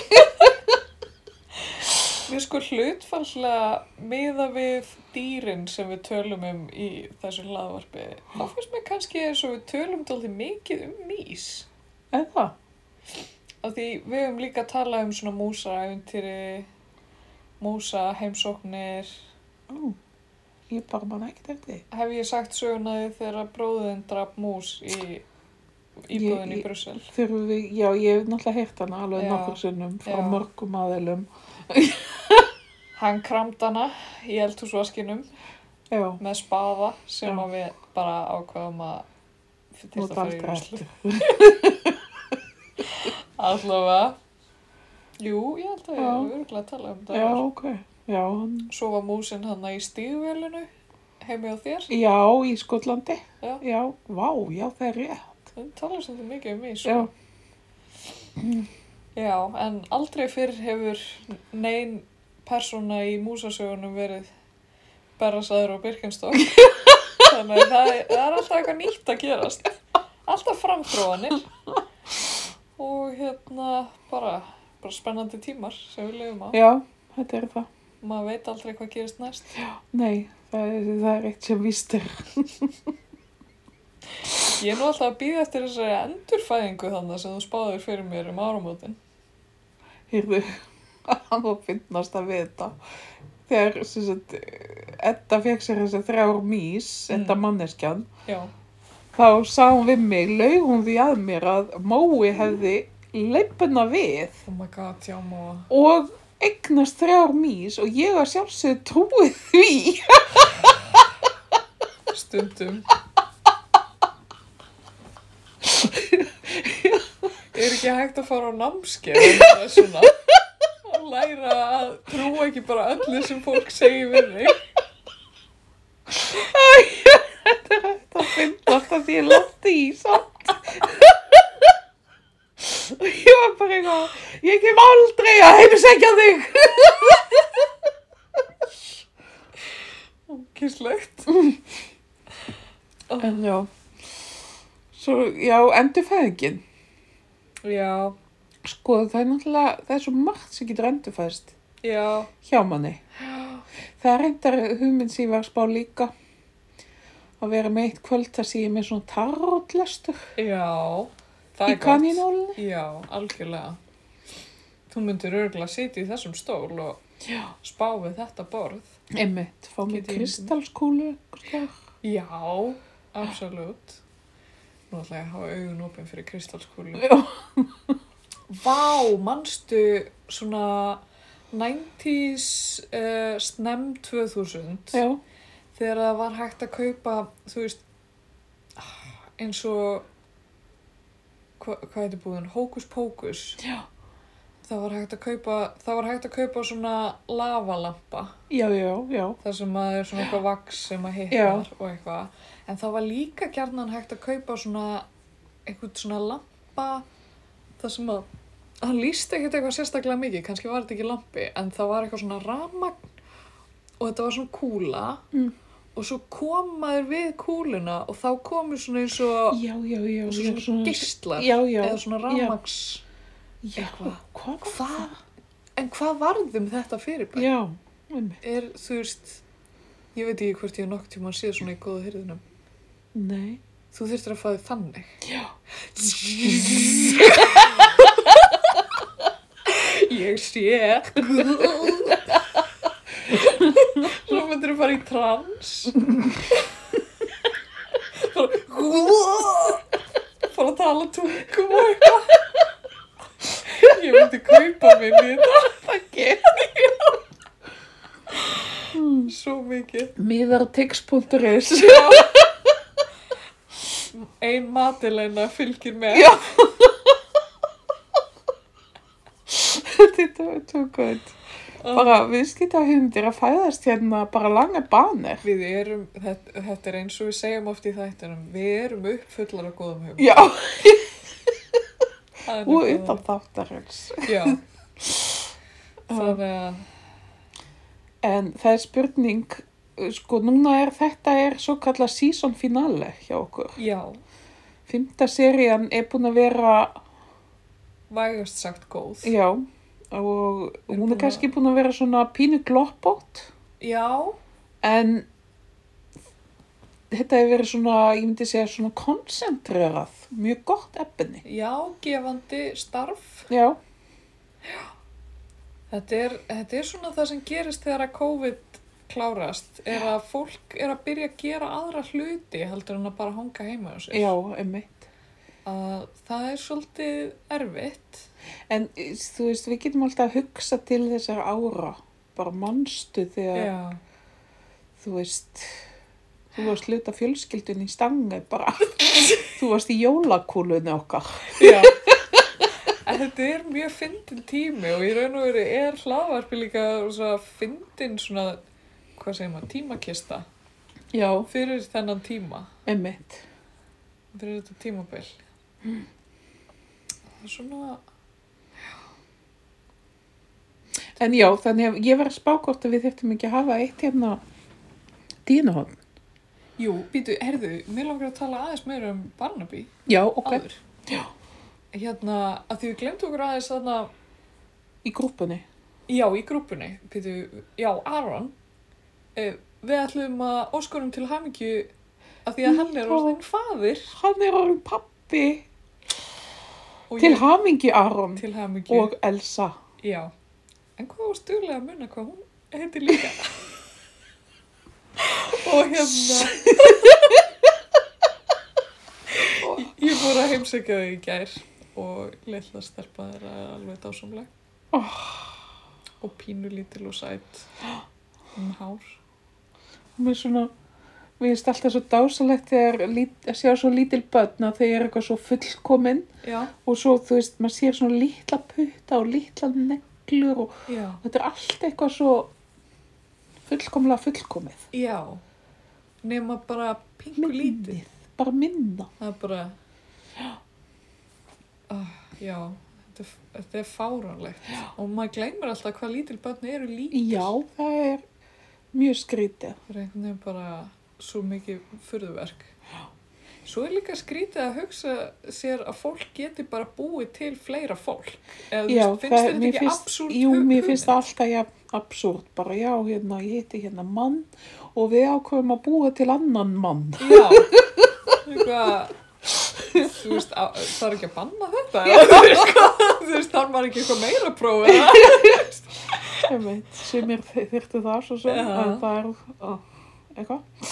[SPEAKER 1] Við sko hlutfallega miða við dýrin sem við tölum um í þessu hlaðvarpi. Þá finnst mér kannski eins og við tölum dálítið mikið um mís.
[SPEAKER 2] Eða það?
[SPEAKER 1] Af því við höfum líka að tala um svona músaæventýri, músa heimsóknir.
[SPEAKER 2] Ó, Ég bara manna ekkert eftir því.
[SPEAKER 1] Hef ég sagt söguna því þegar bróðin draf mús í íbúðin í
[SPEAKER 2] ég-
[SPEAKER 1] Brussel?
[SPEAKER 2] Þurfum við, já, ég hef náttúrulega heyrt hana alveg
[SPEAKER 1] Já,
[SPEAKER 2] nokkur sinnum frá
[SPEAKER 1] já.
[SPEAKER 2] mörgum aðeilum.
[SPEAKER 1] Hann kramd hana í eldhúsvaskinum
[SPEAKER 2] Já,
[SPEAKER 1] með spaða sem
[SPEAKER 2] Já.
[SPEAKER 1] að við bara ákvaðum að til
[SPEAKER 2] nú
[SPEAKER 1] að fara í
[SPEAKER 2] aldrei
[SPEAKER 1] rúslu.
[SPEAKER 2] eftir.
[SPEAKER 1] Allavega. Jú, ég held að ég
[SPEAKER 2] Já.
[SPEAKER 1] hefur örgulega að tala um
[SPEAKER 2] Já,
[SPEAKER 1] það.
[SPEAKER 2] ok. Já, hann,
[SPEAKER 1] Svo var músin hann í stíðvélinu heimi á þér.
[SPEAKER 2] já, í Skotlandi.
[SPEAKER 1] Já.
[SPEAKER 2] já, vá, já, það er rétt.
[SPEAKER 1] Það talar svolítið mikið um mig,
[SPEAKER 2] Já,
[SPEAKER 1] sko. Já, en aldrei fyrr hefur nein persóna í músasögunum verið Berrasaður og Birkenstock. Þannig að það er, það er alltaf eitthvað nýtt að gerast. Alltaf framþróanir. Og hérna bara, bara spennandi tímar sem við lifum á.
[SPEAKER 2] já, þetta er það.
[SPEAKER 1] Maður veit aldrei hvað gerist næst.
[SPEAKER 2] Nei, það er, það er eitt sem víst er.
[SPEAKER 1] Ég er nú alltaf að býða eftir þessari endurfæðingu þannig sem þú spáður fyrir mér um áramótin.
[SPEAKER 2] Heyrðu, hann var finnast að við þetta. Þegar, sem sagt, Edda fekk sér þessi þrjár mís, Edda manneskjan,
[SPEAKER 1] Já,
[SPEAKER 2] þá sá hún við mig, laug hún því að mér að Mói hefði leipuna við
[SPEAKER 1] oh my god, já má.
[SPEAKER 2] og eignast þrjár mís og ég var sjálfsögð trúið því
[SPEAKER 1] stundum. Er ekki hægt að fara á námskeið eða svona að læra að trúa ekki bara öllu sem fólk segir við mig.
[SPEAKER 2] það finnst alltaf því ég látti í samt og ég var bara eitthvað ég kem aldrei að heimsækja þig
[SPEAKER 1] Kyslegt.
[SPEAKER 2] en já svo já, endur fæðingin
[SPEAKER 1] Já,
[SPEAKER 2] sko það er náttúrulega, það er svo margt sem getur endur fæðist
[SPEAKER 1] já,
[SPEAKER 2] hjá manni það er reyndar hugmynd sem ég var að spá líka að vera með eitt kvöld það sé ég með svona tarotlestur
[SPEAKER 1] já. hérna Það
[SPEAKER 2] í
[SPEAKER 1] er gott.
[SPEAKER 2] kanínólinni
[SPEAKER 1] Já, algjörlega. Þú myndir örgulega sitja í þessum stól og
[SPEAKER 2] Já.
[SPEAKER 1] spá við þetta borð.
[SPEAKER 2] einmitt, fá mig
[SPEAKER 1] Get ég ímyndað mér.
[SPEAKER 2] kristalskúlu einhvers staðar.
[SPEAKER 1] Já, absolutt. Nú ætla ég að hafa augun opinn fyrir kristalskúlu.
[SPEAKER 2] Já.
[SPEAKER 1] Vá, manstu svona 90s uh, snem 2000
[SPEAKER 2] já,
[SPEAKER 1] þegar það var hægt að kaupa, þú veist, ah, eins og, hva, hvað heitir búðin, hókus pókus.
[SPEAKER 2] Já.
[SPEAKER 1] Það var hægt að kaupa, það var hægt að kaupa svona lavalampa
[SPEAKER 2] já, já, já
[SPEAKER 1] þar sem maður er svona eitthvað vaks sem að hittar og eitthvað. En það var líka gjarnan hægt að kaupa svona eitthvað svona lampa þar sem að hann líst ekkert eitthvað sérstaklega mikið, kannski var þetta ekki lampi en það var eitthvað svona ramagn og þetta var svona kúla
[SPEAKER 2] Mm.
[SPEAKER 1] og svo kom maður við kúluna og þá komu svona eins og
[SPEAKER 2] já, já, já, já,
[SPEAKER 1] svona, svona geislar
[SPEAKER 2] já, já,
[SPEAKER 1] eða svona ramags
[SPEAKER 2] já,
[SPEAKER 1] eitthvað.
[SPEAKER 2] hvað var
[SPEAKER 1] Hvað? En hvað varðum þetta fyrirbæri?
[SPEAKER 2] það? já, einmitt,
[SPEAKER 1] er, þú veist, ég veit ekki hvort ég nokk tíma að séð svona í góða hyrðinum.
[SPEAKER 2] nei
[SPEAKER 1] Þú þurftir að fá þig þannig. Já. ég sé. Svo myndir þú fara í trans. Fara fara að tala tungum og eitthvað. Ég myndi kaupa mig í þetta.
[SPEAKER 2] okay.
[SPEAKER 1] Svo mikið.
[SPEAKER 2] miðartix.is
[SPEAKER 1] Ein matilegna fylgir með.
[SPEAKER 2] Já. þetta var too good bara viðskita hundir að fæðast hérna bara langa banir
[SPEAKER 1] Við erum, þetta, þetta er eins og við segjum oft í þættinum, við erum uppfullar af góðum hugum.
[SPEAKER 2] já,
[SPEAKER 1] Það er
[SPEAKER 2] og
[SPEAKER 1] nefnilega
[SPEAKER 2] utan þáttarins
[SPEAKER 1] það. Já. Þannig að,
[SPEAKER 2] en það er spurning sko núna er þetta er svo kallað season finale hjá okkur
[SPEAKER 1] já,
[SPEAKER 2] fymta serían er búin að vera
[SPEAKER 1] vægast sagt góð.
[SPEAKER 2] já og hún
[SPEAKER 1] búin
[SPEAKER 2] er
[SPEAKER 1] að-
[SPEAKER 2] kannski búin að vera svona pínu gloppót
[SPEAKER 1] Já,
[SPEAKER 2] en þetta hefur verið svona, ég myndi segja svona koncentrerað, mjög gott efni.
[SPEAKER 1] já, gefandi starf.
[SPEAKER 2] Já,
[SPEAKER 1] Þetta er, þetta er svona það sem gerist þegar að COVID klárast, er að fólk er að byrja að gera aðra hluti heldur en að bara hanga heima á sér.
[SPEAKER 2] já, emmitt.
[SPEAKER 1] Að það er svolítið erfitt.
[SPEAKER 2] En eh, þú veist, við getum alltaf að hugsa til þessar ára, bara mannstu þegar,
[SPEAKER 1] Já.
[SPEAKER 2] þú veist, þú varst hluta fjölskyldun í stangu bara, þú varst í jólakúlunni okkar.
[SPEAKER 1] Já, en þetta er mjög fyndin tími og í raun og veru er hlaðvarpi líka svo fyndin svona, hvað segir maður, tímakista
[SPEAKER 2] Já,
[SPEAKER 1] fyrir þennan tíma,
[SPEAKER 2] emmitt.
[SPEAKER 1] fyrir þetta tímabil. Það er svona,
[SPEAKER 2] En já, þannig að ég var að spá hvort að við þyrftum ekki að hafa eitt hérna dínuhótt.
[SPEAKER 1] jú, býtu, herðu, mér langar að tala aðeins meira um Barnaby
[SPEAKER 2] Já, ok,
[SPEAKER 1] áður. Já. Hérna, að því við glemdu okkur aðeins þarna,
[SPEAKER 2] í grúpunni.
[SPEAKER 1] já, í grúpunni, býtu, já, Aron, eh, við ætlum að óskorum til hamingju að því að hann er
[SPEAKER 2] Já.
[SPEAKER 1] orðin faðir.
[SPEAKER 2] Hann er orðin pappi
[SPEAKER 1] Og
[SPEAKER 2] til
[SPEAKER 1] ég-
[SPEAKER 2] hamingi Aron
[SPEAKER 1] Til hamingju.
[SPEAKER 2] og Elsa.
[SPEAKER 1] Já. En hvað var stuðlega að munna hvað hún heitir líka? og hérna... og ég fór að heimsækja þau í gær og litla stelpa þeirra er alveg dásamleg.
[SPEAKER 2] Oh.
[SPEAKER 1] og pínulítil og sætt um hár.
[SPEAKER 2] Mér svona, mér finnst alltaf svo dásalegt þegar lít- að sjá svo lítil börn að þau eru eitthvað svo fullkomin
[SPEAKER 1] Já,
[SPEAKER 2] og svo, þú veist, maður sér svona litla putta og litla neglur og
[SPEAKER 1] já,
[SPEAKER 2] þetta er allt eitthvað svo fullkomlega fullkomið.
[SPEAKER 1] já. Nema bara pínulítið.
[SPEAKER 2] Minnið, bara minna.
[SPEAKER 1] Það er bara, ah, já, þetta er, þetta er fáránlegt. Og maður gleymir alltaf hvað lítil börn eru lítil.
[SPEAKER 2] Já, það er mjög skrítið.
[SPEAKER 1] Það er einhvern veginn bara svo mikið furðuverk. Svo er líka skrítið að hugsa sér að fólk geti bara búið til fleira fólk. Eða, þú
[SPEAKER 2] Já,
[SPEAKER 1] veist, finnst
[SPEAKER 2] mér
[SPEAKER 1] þetta ekki
[SPEAKER 2] finnst-
[SPEAKER 1] absúrt
[SPEAKER 2] Jú, mér finnst það alltaf ja, absúrt bara, já, hérna, ég hitti hérna mann og við ákveðum að búa til annan mann.
[SPEAKER 1] Já, eitthvað, þú veist, á, það er ekki að banna þetta, eða, þú veist, hvað, þú veist, þarf maður ekki eitthvað meira að prófa það.
[SPEAKER 2] Ég veit, sem er þyrftu það svo sem,
[SPEAKER 1] Já.
[SPEAKER 2] en það er, ó, eitthvað.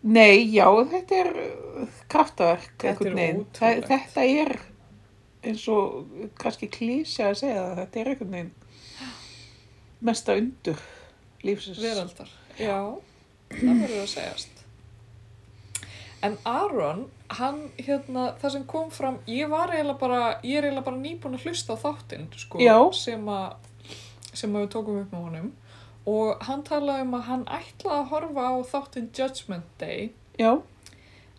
[SPEAKER 2] Nei, já, þetta er uh, kraftaverk,
[SPEAKER 1] Þetta er
[SPEAKER 2] einhvern veginn. Þa-
[SPEAKER 1] ótrúlegt.
[SPEAKER 2] Þetta er eins og kannski klísja að segja það, þetta er einhvern veginn mesta undur lífsins.
[SPEAKER 1] Veraldar, já, það verður að segjast. En Aron, hann, hérna, það sem kom fram, ég var eiginlega bara, ég er eiginlega bara nýbúin að hlusta á þáttinn, sko,
[SPEAKER 2] Já.
[SPEAKER 1] sem að, sem að við tókum upp með honum. Og hann talaði um að hann ætlaði að horfa á þáttinn Judgment Day,
[SPEAKER 2] Já,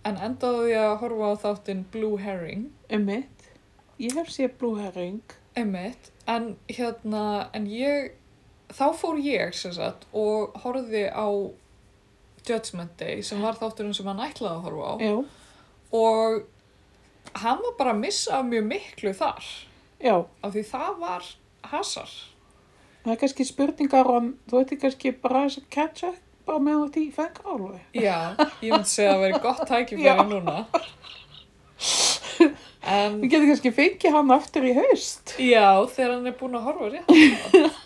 [SPEAKER 1] en endaði á því að horfa á þáttinn Blue Herring.
[SPEAKER 2] emmitt. Ég hef séð Blue Herring.
[SPEAKER 1] Einmitt, en hérna, en ég, þá fór ég sem sagt og horfði á Judgment Day sem var þátturinn sem hann ætlaði að horfa á
[SPEAKER 2] Já,
[SPEAKER 1] og hann var bara að missa af mjög miklu þar
[SPEAKER 2] já.
[SPEAKER 1] af því það var hasar.
[SPEAKER 2] Það er kannski spurningar og þú veitir kannski bara þess að catch up á meðan þú ert í fengalvi.
[SPEAKER 1] Já, ég myndi segja að það veri gott
[SPEAKER 2] Já.
[SPEAKER 1] tækifæri núna. En
[SPEAKER 2] Við getum kannski fengið hann aftur í haust.
[SPEAKER 1] já, þegar hann er búinn að horfa rétt. á það.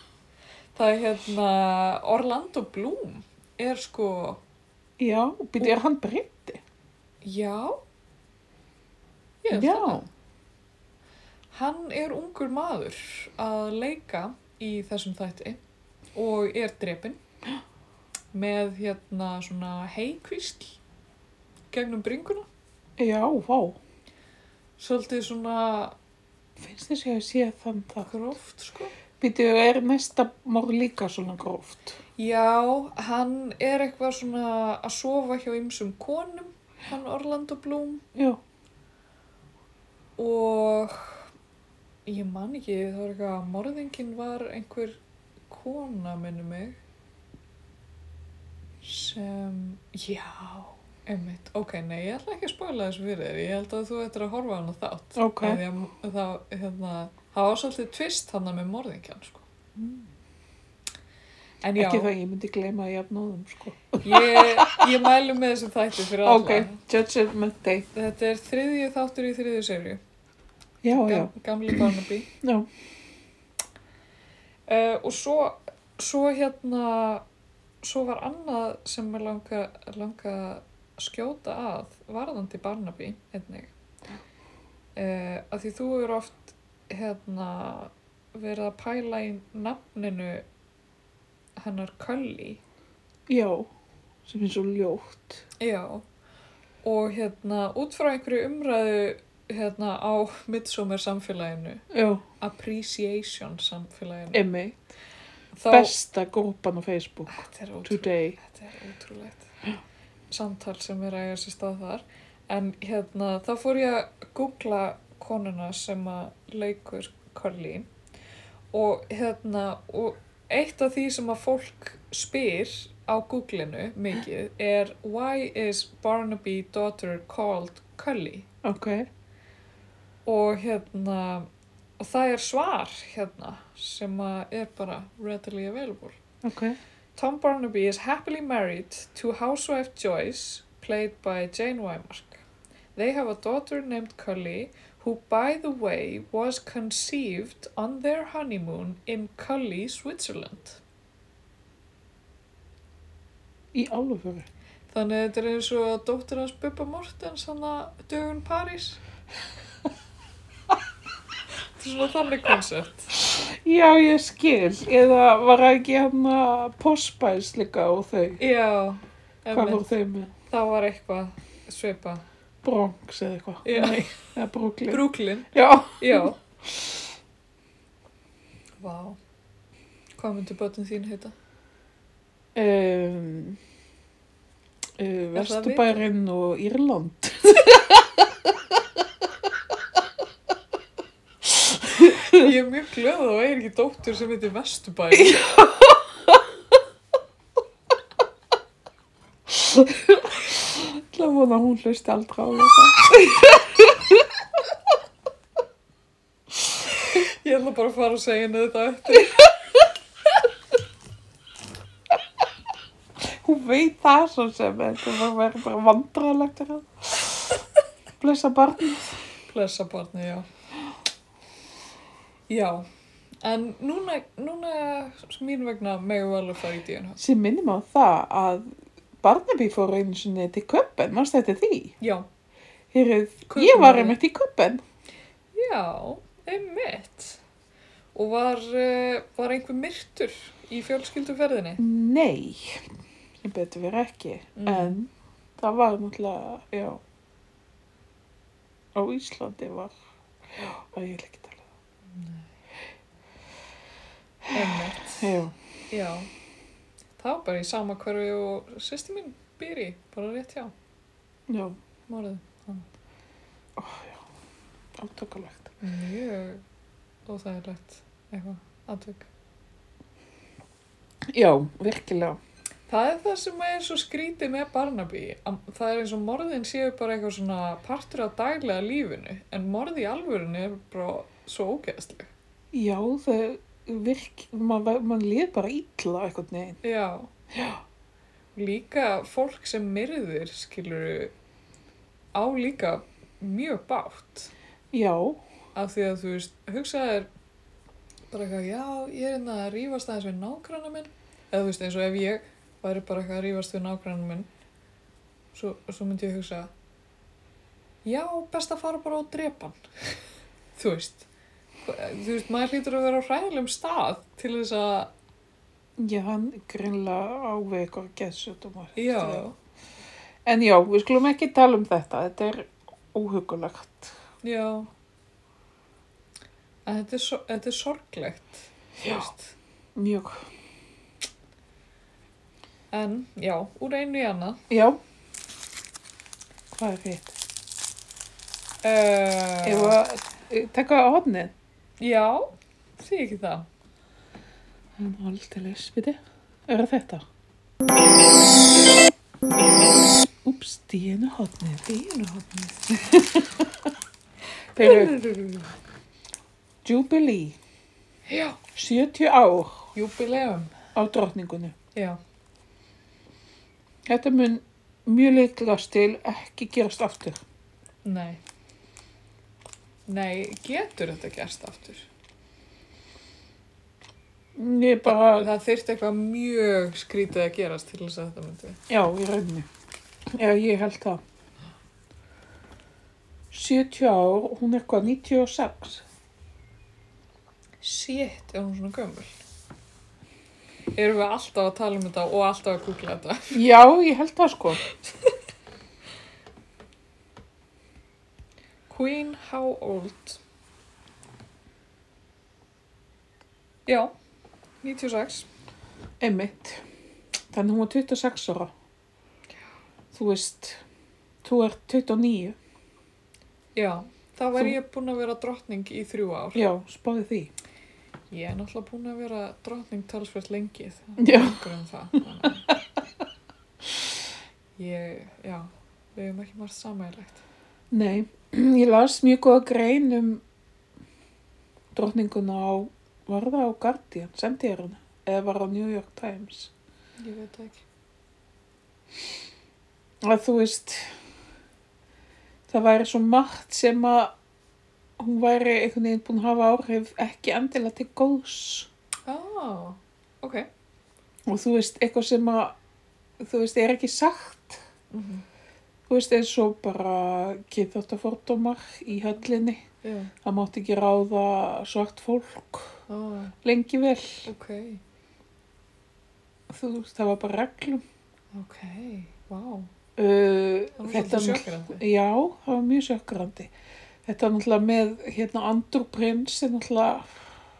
[SPEAKER 1] Það er hérna, Orlando Bloom er sko,
[SPEAKER 2] Já, og býtu, er hann breytti?
[SPEAKER 1] já, ég held
[SPEAKER 2] Já,
[SPEAKER 1] það. Hann er ungur maður að leika í þessum þætti og er drepin með hérna svona heikvísl gegnum bringuna.
[SPEAKER 2] já, vá.
[SPEAKER 1] Svolítið svona
[SPEAKER 2] Finnst þess að ég sé þann það.
[SPEAKER 1] gróft sko.
[SPEAKER 2] Býtu, er næsta mór líka svona gróft?
[SPEAKER 1] Já, hann er eitthvað svona að sofa hjá ymsum konum, hann Orlando Bloom
[SPEAKER 2] Já,
[SPEAKER 1] og ég man ekki, það var eitthvað að morðingin var einhver kona minni mig sem, já einmitt, ok, nei, ég ætla ekki að spóla þessu fyrir þér, ég held að þú ættir að horfa á hana þátt
[SPEAKER 2] Ok.
[SPEAKER 1] Af því að það, hérna, það var svolítið tvist hann með morðingjan sko. en já
[SPEAKER 2] Hmm. ekki það ég myndi gleyma að ég afnóðum, sko.
[SPEAKER 1] ég, ég mælu með þessu þætti fyrir alla
[SPEAKER 2] Ok, judgment day.
[SPEAKER 1] þetta er þriðju þáttur í þriðju serju
[SPEAKER 2] Já, já,
[SPEAKER 1] Gam, gamli Barnaby
[SPEAKER 2] já.
[SPEAKER 1] Uh, og svo, svo hérna, svo var annað sem mér langa, langa að skjóta að varðandi Barnaby einnig. Uh, að því þú eru oft hérna, verið að pæla í nafninu hennar Kölli.
[SPEAKER 2] Já, sem er svo ljótt.
[SPEAKER 1] Já. Og hérna, út frá einhverju umræðu hérna, á midsommar samfélaginu,
[SPEAKER 2] Já,
[SPEAKER 1] appreciation samfélaginu.
[SPEAKER 2] emmi.
[SPEAKER 1] Þá,
[SPEAKER 2] Besta grúpan á Facebook
[SPEAKER 1] Þetta er ótrúlega.
[SPEAKER 2] today.
[SPEAKER 1] Þetta er ótrúlegt samtal sem er að eiga sér stað þar. En hérna, þá fór ég að googla konuna sem að leikur Colleen og hérna, og eitt af því sem að fólk spyr á googlinu mikið er Why is Barnaby daughter called Cully?
[SPEAKER 2] Ok,
[SPEAKER 1] Og hérna, og það er svar hérna sem að er bara readily available.
[SPEAKER 2] ok.
[SPEAKER 1] Tom Barnaby is happily married to housewife Joyce, played by Jane Wymark. They have a daughter named Cully, who, by the way, was conceived on their honeymoon in Cully, Switzerland.
[SPEAKER 2] Í alvöru.
[SPEAKER 1] Þannig að þetta er eins og að dóttir hans Bubba Mortens hann að dögun París. þetta er svona þannig koncept.
[SPEAKER 2] Já, ég skil. Eða var ekki hann að postbæs líka og þau?
[SPEAKER 1] Já,
[SPEAKER 2] Hvað
[SPEAKER 1] einmitt.
[SPEAKER 2] voru þau með?
[SPEAKER 1] það var eitthvað svipa.
[SPEAKER 2] Bronx eða eitthvað?
[SPEAKER 1] Já,
[SPEAKER 2] Eða Brooklyn?
[SPEAKER 1] Brooklyn,
[SPEAKER 2] Já.
[SPEAKER 1] já. Vá. Hvað myndi börnin þín heita?
[SPEAKER 2] Um, uh,
[SPEAKER 1] Er það
[SPEAKER 2] Vesturbærin og Írland.
[SPEAKER 1] Ég er mjög glöð að það er ekki dóttur sem heitir Vesturbæri.
[SPEAKER 2] Það vona að hún hlusti aldrei á þetta.
[SPEAKER 1] Ég ætla bara að fara að segja henni þetta eftir.
[SPEAKER 2] Hún veit það svo sem, en það var verið bara vandrarlegt að hann. Blessa barnið.
[SPEAKER 1] Blessa barni, já. Já, en núna, núna mín vegna megum við alveg fara í DNA.
[SPEAKER 2] Sem minnum á það að Barnaby fór einu sinni til köpen, mannst þetta því?
[SPEAKER 1] Já.
[SPEAKER 2] Heyrið,
[SPEAKER 1] Köben
[SPEAKER 2] ég var
[SPEAKER 1] var-
[SPEAKER 2] einmitt í köpen.
[SPEAKER 1] Já, einmitt. Og var, uh, var einhver myrtur í fjölskylduferðinni?
[SPEAKER 2] Nei, sem betur verið ekki.
[SPEAKER 1] Mm.
[SPEAKER 2] En það var náttúrulega, já, á Íslandi var, já, að ég leik tala. um
[SPEAKER 1] Einmitt,
[SPEAKER 2] Já,
[SPEAKER 1] já. Það var bara í sama hverfi og sýsti mín býr í, bara rétt hjá, um
[SPEAKER 2] já,
[SPEAKER 1] morðið.
[SPEAKER 2] átökulegt.
[SPEAKER 1] Mjög óþægilegt eitthvað, atvik.
[SPEAKER 2] Já, virkilega.
[SPEAKER 1] Það er það sem er svo skrítið með Barnaby. að Það er eins og morðin séu bara eitthvað svona partur af daglega lífinu. En morði í alvörinu er bara svo ógeðsleg.
[SPEAKER 2] Já, það virk, maður man lið bara illa eitthvað neginn.
[SPEAKER 1] Já. Já. Líka fólk sem myrðir skilur á líka mjög bátt.
[SPEAKER 2] Já,
[SPEAKER 1] Af því að þú veist, hugsaðir bara eitthvað, já, ég er hérna að rífast aðeins við nákvæmna minn. Eða þú veist, eins og ef ég væri bara eitthvað að rífast við nákvæmna minn, svo, svo myndi ég hugsa, já, best að fara bara og drepa hann. þú veist, hva- þú veist, maður hlýtur að vera á hræðilegum stað til þess að,
[SPEAKER 2] já, hann greinlega á við eitthvað geðsjóttumar.
[SPEAKER 1] já,
[SPEAKER 2] En já, við skulum ekki tala um þetta, þetta er óhugulegt.
[SPEAKER 1] já. En þetta er, so, þetta er sorglegt, þú
[SPEAKER 2] Já.
[SPEAKER 1] veist.
[SPEAKER 2] Mjög.
[SPEAKER 1] En, já, úr einu í annað.
[SPEAKER 2] Já. Hvað er hitt?
[SPEAKER 1] Uh,
[SPEAKER 2] Ef að eh, taka á hodnið.
[SPEAKER 1] Já, því ekki það.
[SPEAKER 2] Hann haldi leys, viti. Er það þetta? Úps, dínu hodnið. Dínu hodnið. Þegar Jubilee,
[SPEAKER 1] Já,
[SPEAKER 2] 70 ár
[SPEAKER 1] júbileum.
[SPEAKER 2] á drottningunni.
[SPEAKER 1] Já,
[SPEAKER 2] Þetta mun mjög líklegast til ekki gerast aftur.
[SPEAKER 1] nei. Nei, getur þetta gerst aftur?
[SPEAKER 2] Ég bara,
[SPEAKER 1] Það þyrfti eitthvað mjög skrítið að gerast til þess að þetta myndi.
[SPEAKER 2] já, í rauninni. Já, ég held það. 70 ár, hún er hvað, 96?
[SPEAKER 1] Shit, er hún svona gömul? Erum við alltaf að tala um þetta og alltaf að googla þetta?
[SPEAKER 2] Já, ég held það sko.
[SPEAKER 1] Queen How Old? Já, 96.
[SPEAKER 2] Einmitt. Þannig hún var 26 ára. Þú veist, þú er 29.
[SPEAKER 1] Já, þá var
[SPEAKER 2] Þú-
[SPEAKER 1] ég búin að vera drottning í þrjú ár.
[SPEAKER 2] Já, spáði því.
[SPEAKER 1] Ég er náttúrulega búin að vera drottning talsvært lengi
[SPEAKER 2] Já.
[SPEAKER 1] þannig um það. þannig að Ég, já, við hefum ekki margt samægilegt.
[SPEAKER 2] Nei, ég las mjög góða grein um drottninguna á, var það á Guardian, sendi ég hana, eða var á New York Times.
[SPEAKER 1] Ég veit það ekki.
[SPEAKER 2] Að þú veist, það væri svo margt sem að hún væri einhvern veginn búin að hafa áhrif ekki endilega til góðs.
[SPEAKER 1] Á, ok.
[SPEAKER 2] Og þú veist, eitthvað sem að, þú veist, er ekki sagt.
[SPEAKER 1] Mm
[SPEAKER 2] Mhm.
[SPEAKER 1] -hmm.
[SPEAKER 2] Þú veist, eins og bara kynþáttafordómar í höllinni.
[SPEAKER 1] Já,
[SPEAKER 2] Það mátti ekki ráða svart fólk.
[SPEAKER 1] Oh,
[SPEAKER 2] lengi vel.
[SPEAKER 1] ok,
[SPEAKER 2] Þú veist, það var bara reglum.
[SPEAKER 1] ok, wow.
[SPEAKER 2] Uh,
[SPEAKER 1] Það var
[SPEAKER 2] þetta
[SPEAKER 1] svolítið
[SPEAKER 2] náttúrulega-
[SPEAKER 1] sjokkrandi.
[SPEAKER 2] Já, það var mjög sjokkrandi. Þetta er náttúrulega með hérna Andur Prins er náttúrulega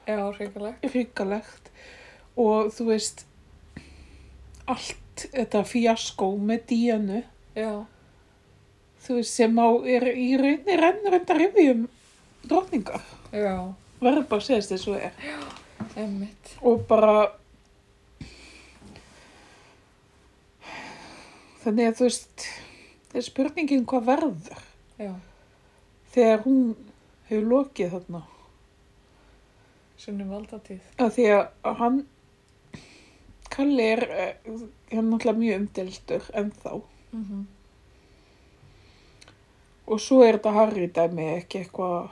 [SPEAKER 1] Já, hrikalegt.
[SPEAKER 2] ríkalegt og þú veist allt þetta fjaskó með Díanu
[SPEAKER 1] Já,
[SPEAKER 2] þú veist sem á er í rauninni rennur enda rifjum drotningar
[SPEAKER 1] já,
[SPEAKER 2] verður bara að segja þess og er
[SPEAKER 1] emmitt.
[SPEAKER 2] og bara þannig að þú veist það er spurningin hvað verður
[SPEAKER 1] Já,
[SPEAKER 2] þegar hún hefur lokið þarna
[SPEAKER 1] sinnum valdatíð.
[SPEAKER 2] að því að hann Kalli er eh, hann er náttúrulega mjög umdeltur ennþá
[SPEAKER 1] Mm
[SPEAKER 2] Mhm.
[SPEAKER 1] -hmm.
[SPEAKER 2] og svo er þetta Harry dæmi ekki eitthvað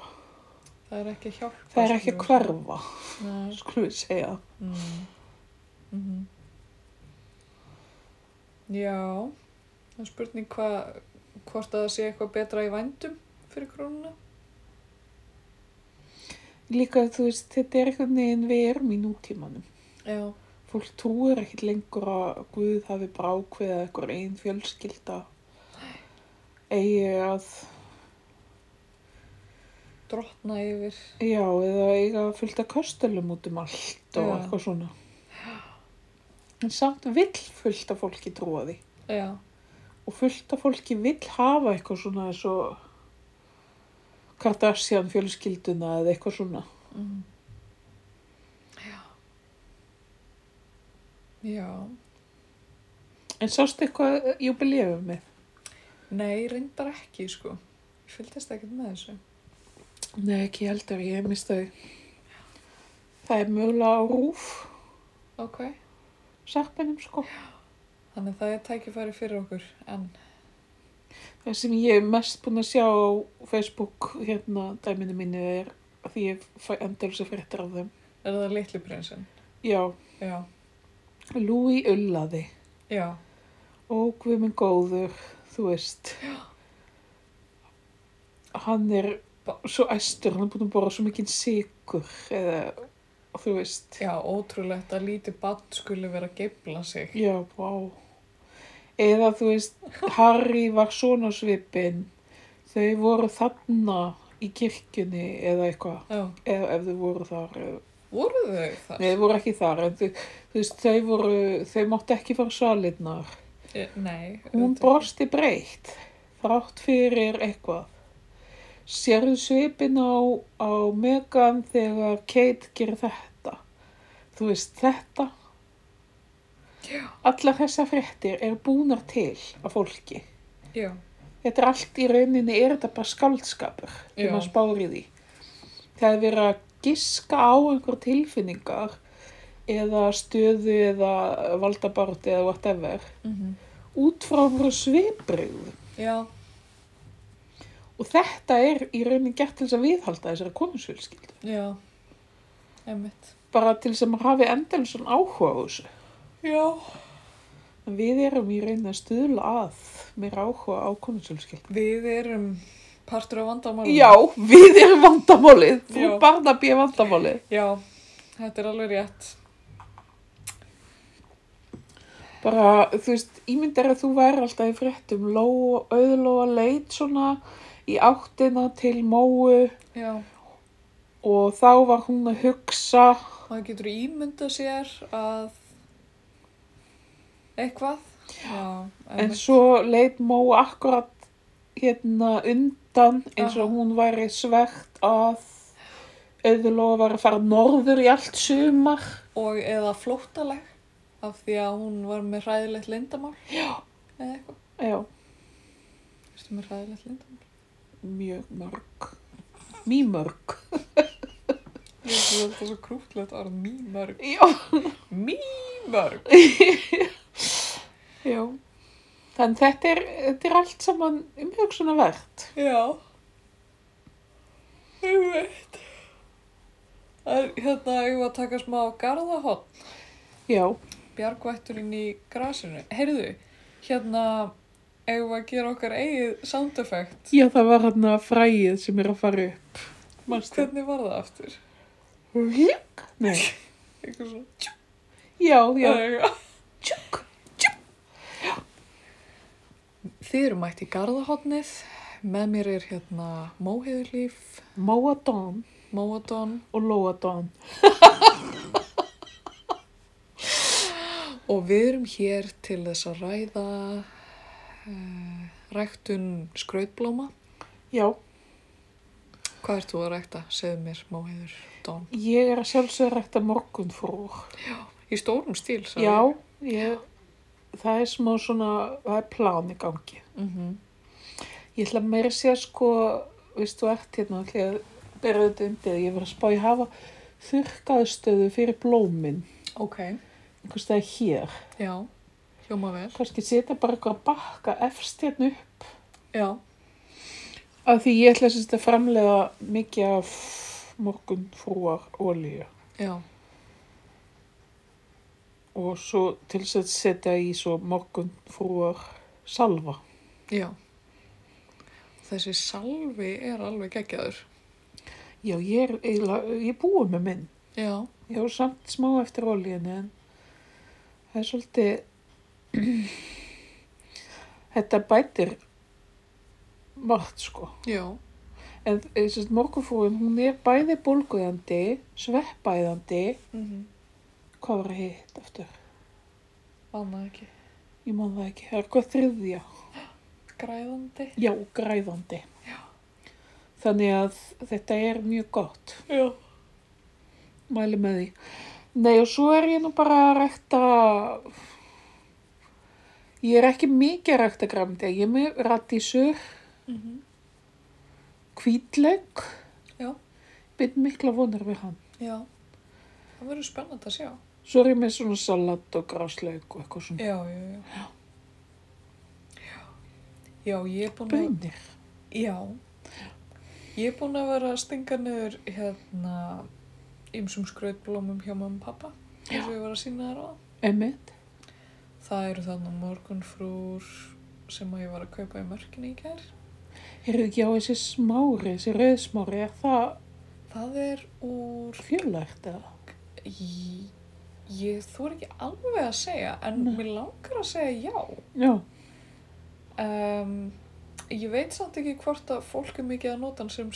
[SPEAKER 1] Það er ekki hjálp.
[SPEAKER 2] það er ekki að hverfa
[SPEAKER 1] Nei.
[SPEAKER 2] skulum við segja
[SPEAKER 1] Mm. Mm Já, það er spurning hva, hvort að það sé eitthvað betra í vændum fyrir krónuna.
[SPEAKER 2] líka þú veist þetta er eitthvað neginn við erum í nútímanum
[SPEAKER 1] Já,
[SPEAKER 2] fólk trúir ekkit lengur að Guð hafi bara ákveðið að eitthvað einn fjölskylda eigi að
[SPEAKER 1] drottna yfir.
[SPEAKER 2] já eða eiga fullt af kostelum út um allt og
[SPEAKER 1] Já.
[SPEAKER 2] eitthvað svona en samt vill fullt af fólki trúa því
[SPEAKER 1] Já,
[SPEAKER 2] og fullt af fólki vill hafa eitthvað svona eins og Kardashian fjölskylduna eða eitthvað svona
[SPEAKER 1] mm. já. Já,
[SPEAKER 2] en sástu eitthvað júbileum með
[SPEAKER 1] nei, reyndar ekki, sko. Ég fylgdist ekkert með þessu.
[SPEAKER 2] nei ekki ég heldur, ég mista þau það er mögulega á rúf
[SPEAKER 1] Ok,
[SPEAKER 2] sarpinum sko
[SPEAKER 1] þannig það er tækifæri fyrir okkur, en
[SPEAKER 2] það sem ég er mest búin að sjá á Facebook hérna dæminu mínu er að því ég fæ endalsa fréttir af þeim
[SPEAKER 1] er það litli prinsinn?
[SPEAKER 2] já,
[SPEAKER 1] Já,
[SPEAKER 2] Louis Ullaði
[SPEAKER 1] já,
[SPEAKER 2] Ó, guð minn góður, þú veist. Hann er svo æstur, hann er búin að bora svo mikinn sigur, eða, þú veist.
[SPEAKER 1] já, ótrúlegt að lítið bann skulle vera að geifla sig.
[SPEAKER 2] Já, vá. Eða, þú veist, Harry var svona svipinn, þau voru þarna í kirkjunni eða eitthvað,
[SPEAKER 1] Já,
[SPEAKER 2] eða ef þau voru þar. eða-
[SPEAKER 1] voru þau það?
[SPEAKER 2] Nei, þau voru ekki þar, en þau, þú veist, þau voru, þau máttu ekki fara svalinnar.
[SPEAKER 1] Nei. Nei.
[SPEAKER 2] Hún
[SPEAKER 1] auðvitað
[SPEAKER 2] brosti breytt, þrátt fyrir eitthvað. Sérðu svipin á, á Megan þegar Kate gerir þetta. Þú veist þetta.
[SPEAKER 1] Já.
[SPEAKER 2] Allar þessar fréttir eru búnar til af fólki.
[SPEAKER 1] ekki. Já,
[SPEAKER 2] Þetta er allt í rauninni, er þetta bara skaldskapur
[SPEAKER 1] Já.
[SPEAKER 2] þegar maður spáir í því. Það er verið að giska á einhver tilfinningar eða stöðu eða valdabarti eða whatever
[SPEAKER 1] mm
[SPEAKER 2] út frá einhverju svipriðu.
[SPEAKER 1] já,
[SPEAKER 2] Og þetta er í raunin gert til þess að viðhalda þessari konusfjölskyldu.
[SPEAKER 1] já, emmitt.
[SPEAKER 2] Bara til þess að maður hafi endelsun áhuga á þessu.
[SPEAKER 1] Já.
[SPEAKER 2] En við erum í raunin að stuðla að mér áhuga á konusfjölskyldu.
[SPEAKER 1] Við erum partur af vandamálum.
[SPEAKER 2] Já, við erum vandamálið. Þú
[SPEAKER 1] Já.
[SPEAKER 2] barnabíð er vandamálið.
[SPEAKER 1] Já, þetta er alveg rétt.
[SPEAKER 2] Bara, þú veist, ímyndar að þú væri alltaf í fréttum Lóa, auðlóa leit svona í áttina til móu
[SPEAKER 1] Já,
[SPEAKER 2] og þá var hún að hugsa
[SPEAKER 1] maður getur ímyndað sér að eitthvað. Já,
[SPEAKER 2] en
[SPEAKER 1] einmitt.
[SPEAKER 2] svo leit Mó akkurat hérna undan eins og
[SPEAKER 1] Aha.
[SPEAKER 2] hún væri svegt að auðurlofa var að fara norður í allt sumar
[SPEAKER 1] og eða flóttaleg af því að hún var með hræðilegt lindamál. Já. Eða eitthvað.
[SPEAKER 2] já,
[SPEAKER 1] Erstu með hræðilegt lindamál?
[SPEAKER 2] mjög mörg mýmörg
[SPEAKER 1] Ég veist að þetta er svo krútlegt orð, mýmörg.
[SPEAKER 2] já,
[SPEAKER 1] Mýmörg!
[SPEAKER 2] já þannig þetta er, þetta er allt saman mjög svona verðt
[SPEAKER 1] Já. Ég veit. Það er hérna, ég var að taka smá garðahotn.
[SPEAKER 2] já,
[SPEAKER 1] bjargvætturinn í grasinu. Heyrðu, hérna eigum við að gera okkar eigið sound effect.
[SPEAKER 2] já það var hérna fræið sem er að fara upp Manstu?
[SPEAKER 1] Hvernig var það aftur?
[SPEAKER 2] Rík? Nei.
[SPEAKER 1] Eitthvað svona. tjú,
[SPEAKER 2] Já, já.
[SPEAKER 1] eða eitthvað.
[SPEAKER 2] Tjúk.
[SPEAKER 1] Þið eru mætt í Garðahotnið. Með mér er hérna Móheðurlíf,
[SPEAKER 2] Móadón
[SPEAKER 1] Móadón
[SPEAKER 2] og Lóadón.
[SPEAKER 1] og við erum hér til þess að ræða uh, ræktun skrautblóma.
[SPEAKER 2] Já,
[SPEAKER 1] Hvað ert þú að rækta? Segðu mér, Móheður, Dón.
[SPEAKER 2] ég er að sjálfsögða rækta morgunfrúr.
[SPEAKER 1] Í stórum stíl, sagði
[SPEAKER 2] Já, ég, það er smá svona, það er plán í gangi.
[SPEAKER 1] Mm -hmm.
[SPEAKER 2] Ég ætla meira að segja sko, veist þú ert hérna, ætla ég að bera þetta undir, ég verið að spá ég hafa þurrkaðstöðu fyrir blómin,
[SPEAKER 1] Ok,
[SPEAKER 2] einhvers það er hér.
[SPEAKER 1] já, hjóma vel.
[SPEAKER 2] Kannski setja bara eitthvað að bakka efst hérna upp,
[SPEAKER 1] Já,
[SPEAKER 2] af því ég ætla sérst að framlega mikið af morgunfrúar olíu
[SPEAKER 1] já,
[SPEAKER 2] og svo til þess að setja í svo morgunfrúar salva.
[SPEAKER 1] já. Þessi salvi er alveg geggjaður.
[SPEAKER 2] Já, ég er eiginlega, ég búið með minn.
[SPEAKER 1] Já,
[SPEAKER 2] Ég var samt smá eftir olíunni en það er svolítið, þetta bætir margt sko.
[SPEAKER 1] já,
[SPEAKER 2] En þessast morgunfrúin, hún er bæði bólguðandi, sveppæðandi,
[SPEAKER 1] mm -hmm.
[SPEAKER 2] hvað var hitt aftur?
[SPEAKER 1] annað ekki.
[SPEAKER 2] Ég man það ekki, það er eitthvað þriðja.
[SPEAKER 1] Græðandi.
[SPEAKER 2] Já, græðandi. Já. Þannig að þetta er mjög gott.
[SPEAKER 1] Já.
[SPEAKER 2] mæli með því. Nei og svo er ég nú bara að rækta, ég er ekki mikið að rækta græmdi, ég er með radísur,
[SPEAKER 1] Mm -hmm.
[SPEAKER 2] hvítleik,
[SPEAKER 1] Já.
[SPEAKER 2] byrð mikla vonar við hann.
[SPEAKER 1] Já, það verður spennand að sjá.
[SPEAKER 2] Svo er ég með svona salat og gráslauk og eitthvað svona
[SPEAKER 1] Já, já, já. Já, já ég er búin að...
[SPEAKER 2] bönir.
[SPEAKER 1] Já, ég er búin að vera að stinga niður hérna ymsum skrautblómum hjá mamma og pappa eins og ég var að sína þér á það.
[SPEAKER 2] Emmett,
[SPEAKER 1] Það eru þarna morgunfrúr sem að ég var að kaupa í mörkinni í kær.
[SPEAKER 2] eru ekki á þessi smári, þessi rauðsmári, er það
[SPEAKER 1] Það er úr...
[SPEAKER 2] fjölært eða?
[SPEAKER 1] Ég, ég þú er ekki alveg að segja en
[SPEAKER 2] Nei.
[SPEAKER 1] mér langar að segja já.
[SPEAKER 2] Já,
[SPEAKER 1] Um, ég veit samt ekki hvort að fólk er mikið að nota hann sem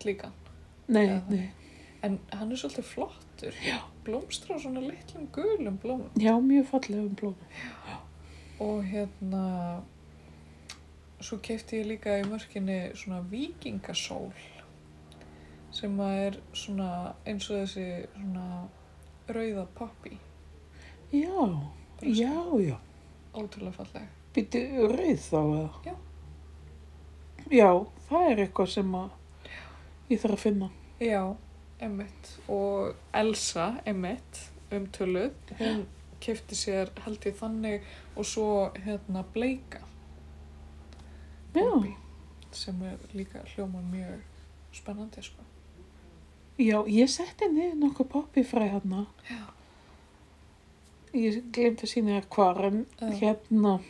[SPEAKER 1] slíkan.
[SPEAKER 2] nei,
[SPEAKER 1] Já.
[SPEAKER 2] nei,
[SPEAKER 1] En hann er svolítið flottur. Já. Blómstrar á svona litlum gulum blómum.
[SPEAKER 2] já, mjög fallegum blómum.
[SPEAKER 1] Og hérna, svo kefti ég líka í mörkinni svona vikingasól sem að er svona eins og þessi svona rauða pappi,
[SPEAKER 2] Já, já, já.
[SPEAKER 1] ótrúlega falleg.
[SPEAKER 2] Býtu rauð þá eða?
[SPEAKER 1] Já.
[SPEAKER 2] Já, það er eitthvað sem að ég þarf að finna.
[SPEAKER 1] Já, Emmett og Elsa Emmett umtöluð, hún kefti sér held ég þannig og svo hérna bleika
[SPEAKER 2] Já,
[SPEAKER 1] Bambi. sem er líka hljóma mjög spennandi sko.
[SPEAKER 2] já ég setti niður nokkuð pappifræ hérna.
[SPEAKER 1] Já.
[SPEAKER 2] Ég glemt að sína þér hvar, en
[SPEAKER 1] Já.
[SPEAKER 2] hérna.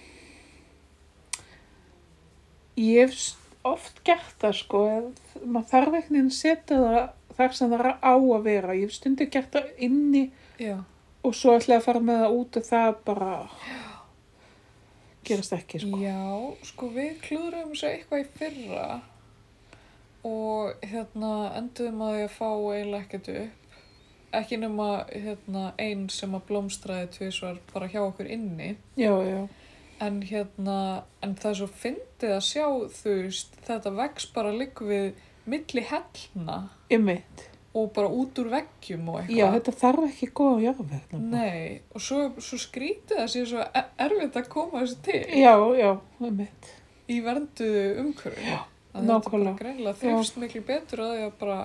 [SPEAKER 2] Ég hef s- oft gert það sko, að maður þarf ekkert að setja það þar sem það er á að vera. Ég hef stundu gert það inni
[SPEAKER 1] Já,
[SPEAKER 2] og svo ætla ég að fara með það út og það bara gerast ekki sko.
[SPEAKER 1] Já, sko við klúðurum þessu eitthvað í fyrra og hérna enduðum að ég fá eiginlega ekkert upp. Ekki nema hérna einn sem að blómstraði tvisvar bara hjá okkur inni.
[SPEAKER 2] Já, já.
[SPEAKER 1] En hérna, en það er svo fyndið að sjá þú veist, þetta vex bara ligg við milli hellna
[SPEAKER 2] Ymmit.
[SPEAKER 1] og bara út úr veggjum og
[SPEAKER 2] Já,
[SPEAKER 1] eitthvað.
[SPEAKER 2] þetta þarf ekki góða jarðveg. nefnilega.
[SPEAKER 1] Nei, og svo, svo skrítið að sé svo e- erfitt að koma þessu til.
[SPEAKER 2] Já, já, ymmit.
[SPEAKER 1] í vernduðu umhverju. Já,
[SPEAKER 2] nákvæmlega.
[SPEAKER 1] Greinlega þrifst miklu betur að því að bara,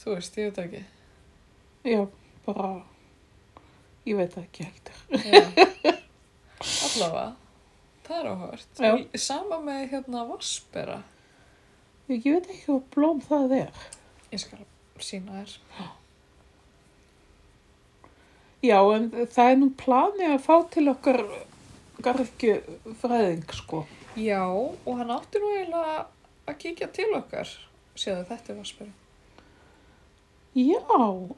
[SPEAKER 1] þú veist, ég veit það ekki.
[SPEAKER 2] Já, bara, ég veit það ekki heldur.
[SPEAKER 1] Já. Allavega, það er áhört.
[SPEAKER 2] Já.
[SPEAKER 1] Sama með hérna vaspera,
[SPEAKER 2] Ég veit ekki hvað blóm það er.
[SPEAKER 1] ég skal sína þér.
[SPEAKER 2] Já, en það er nú planið að fá til okkar garðkju fræðing, sko.
[SPEAKER 1] Já, og hann átti nú eiginlega að kíkja til okkar, séðu þetta er vaspera.
[SPEAKER 2] Já,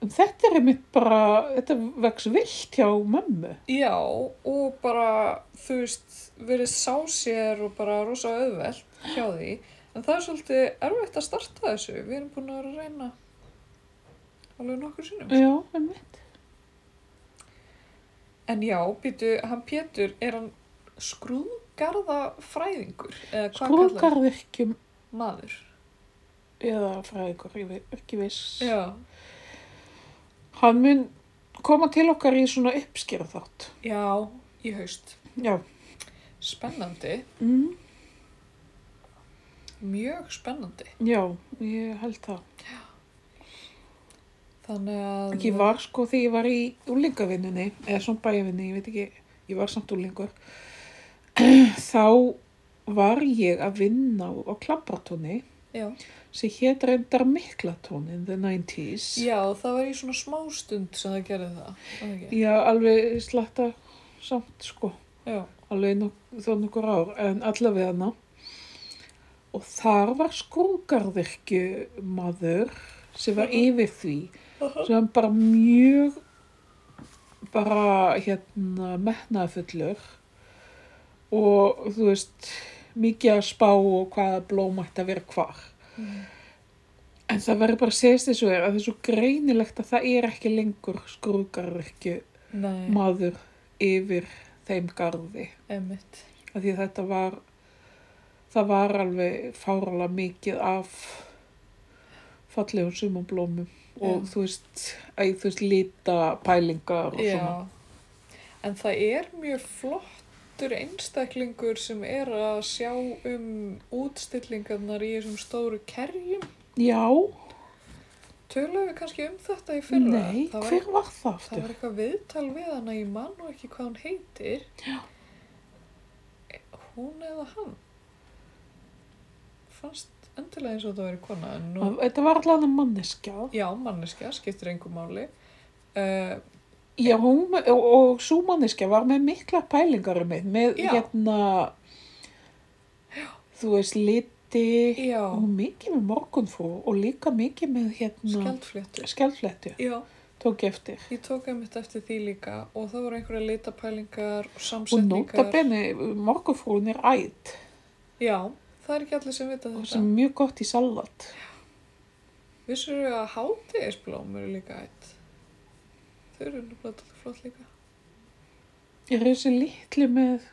[SPEAKER 2] en þetta er einmitt bara, þetta vex vilt hjá mömmu.
[SPEAKER 1] Já, og bara, þú veist, verið sá sér og bara rosa auðvelt hjá því. En það er svolítið erfitt að starta þessu. Við erum búin að vera að reyna alveg nokkur sinnum.
[SPEAKER 2] Já, einmitt.
[SPEAKER 1] En já, býtu, hann Pétur, er hann skrúðgarðafræðingur? Eða hvað kallar
[SPEAKER 2] Skrúðgarðirkjum
[SPEAKER 1] hann? Maður.
[SPEAKER 2] eða fræðingur, ég veit ekki viss.
[SPEAKER 1] Já,
[SPEAKER 2] Hann mun koma til okkar í svona uppskýra þátt.
[SPEAKER 1] já, í haust.
[SPEAKER 2] Já.
[SPEAKER 1] Spennandi,
[SPEAKER 2] Mm.
[SPEAKER 1] mjög spennandi.
[SPEAKER 2] Já, ég held það.
[SPEAKER 1] Þannig að...
[SPEAKER 2] Ég var sko því ég var í úlingavinnunni, eða svona bæjavinni, ég veit ekki, ég var samt úlingur. Þá var ég að vinna á, á klabbartóni
[SPEAKER 1] Já.
[SPEAKER 2] sem hétt reyndar Miklatón in the 90s.
[SPEAKER 1] já, það var í svona smástund sem það gerði það. var það ekki?
[SPEAKER 2] Já, alveg slatta samt sko,
[SPEAKER 1] Já,
[SPEAKER 2] alveg nok þó nokkur ár, en allavega hana. Og þar var skrúgarðirkju maður sem var yfir því, sem var bara mjög, bara hérna metnaðfullur og þú veist, mikið að spá og hvaða blóm ætti að vera hvar. En það verður bara að segist þessu er að það er svo greinilegt að það er ekki lengur skrúgarðirkju
[SPEAKER 1] nei,
[SPEAKER 2] maður yfir þeim garði
[SPEAKER 1] emitt.
[SPEAKER 2] af því að þetta var það var alveg fárala mikið af fallegum sumablómum og
[SPEAKER 1] Já.
[SPEAKER 2] þú veist, að, þú veist lita pælingar og svona
[SPEAKER 1] Já, en það er mjög flottur einstaklingur sem er að sjá um útstillingarnar í þessum stóru kerjum.
[SPEAKER 2] Já,
[SPEAKER 1] Töluðum við kannski um þetta í fyrra?
[SPEAKER 2] nei,
[SPEAKER 1] það var, e-
[SPEAKER 2] hver var það
[SPEAKER 1] það var
[SPEAKER 2] aftur?
[SPEAKER 1] eitthvað viðtal við hana, ég man nú ekki hvað hann heitir. Já. Hún eða hann? Fannst endilega eins og það væri kona, en nú...
[SPEAKER 2] Þetta var allan að manneskja
[SPEAKER 1] Já, manneskja, skiptir engum máli. Uh,
[SPEAKER 2] Já, hún, og, og svo manneskja var með mikla pælingar um með, með
[SPEAKER 1] Já.
[SPEAKER 2] hérna þú veist, liti
[SPEAKER 1] já,
[SPEAKER 2] og mikið með morgunfrú og líka mikið með hérna
[SPEAKER 1] skjaldfléttur.
[SPEAKER 2] skjaldflættu,
[SPEAKER 1] Já.
[SPEAKER 2] tók ég eftir
[SPEAKER 1] Ég tók einmitt eftir því líka og það voru einhverja
[SPEAKER 2] og
[SPEAKER 1] litapælingar og
[SPEAKER 2] nota
[SPEAKER 1] samsetningar.
[SPEAKER 2] benni, morgunfrún er ætt
[SPEAKER 1] Já, það er ekki allir sem vita
[SPEAKER 2] og
[SPEAKER 1] þetta.
[SPEAKER 2] sem
[SPEAKER 1] Sem...
[SPEAKER 2] er mjög gott í salat
[SPEAKER 1] Vissur þau að hátegisblóm eru líka eitt? Þau eru nefnilega alltaf flott líka.
[SPEAKER 2] ég er þessi litli með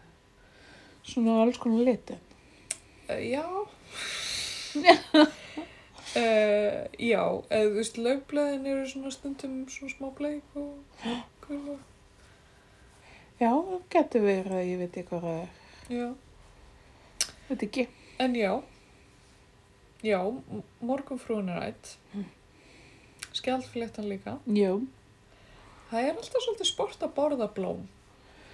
[SPEAKER 2] svona alls konar liti
[SPEAKER 1] Uh, já. uh, já, eða þú veist, laufblöðin eru svona stundum svona smá bleik og gula.
[SPEAKER 2] já, það getur verið að ég veit ekki hvað það er
[SPEAKER 1] Já,
[SPEAKER 2] veit ekki,
[SPEAKER 1] en já. Já, m- morgunfrúin er ætt.
[SPEAKER 2] Hm.
[SPEAKER 1] Skjaldfléttan líka.
[SPEAKER 2] já,
[SPEAKER 1] Það er alltaf svolítið sport að borða blóm,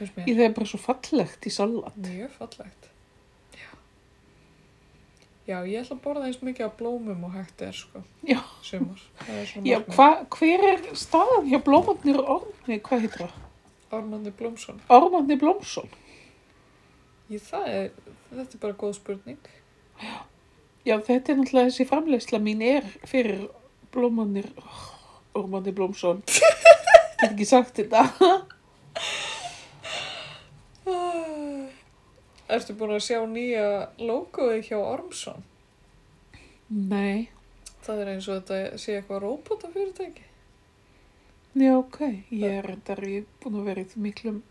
[SPEAKER 1] finnst mér.
[SPEAKER 2] ég það er bara svo fallegt í salat
[SPEAKER 1] Mjög fallegt. Já. Já, ég ætla að borða eins mikið af blómum og hægt er, sko.
[SPEAKER 2] Já.
[SPEAKER 1] Sumar. Það er svona
[SPEAKER 2] já,
[SPEAKER 1] markmið.
[SPEAKER 2] hva, hver er staðan hjá blómatnir ormi, hvað heitir það?
[SPEAKER 1] Ármanni Blómsson.
[SPEAKER 2] Ormatni Blómsson
[SPEAKER 1] Ég, það er, þetta er bara góð spurning.
[SPEAKER 2] Já, þetta er náttúrulega þessi framleiðsla mín er fyrir blómanir, ormanir Blómsson. Get ekki sagt þetta.
[SPEAKER 1] Ah. Ertu búin að sjá nýja logoið hjá Ormsson?
[SPEAKER 2] Nei,
[SPEAKER 1] Það er eins og þetta sé eitthvað róbótafyrirtæki.
[SPEAKER 2] já, ok. Ég er reyndar, ég er búin að vera í miklum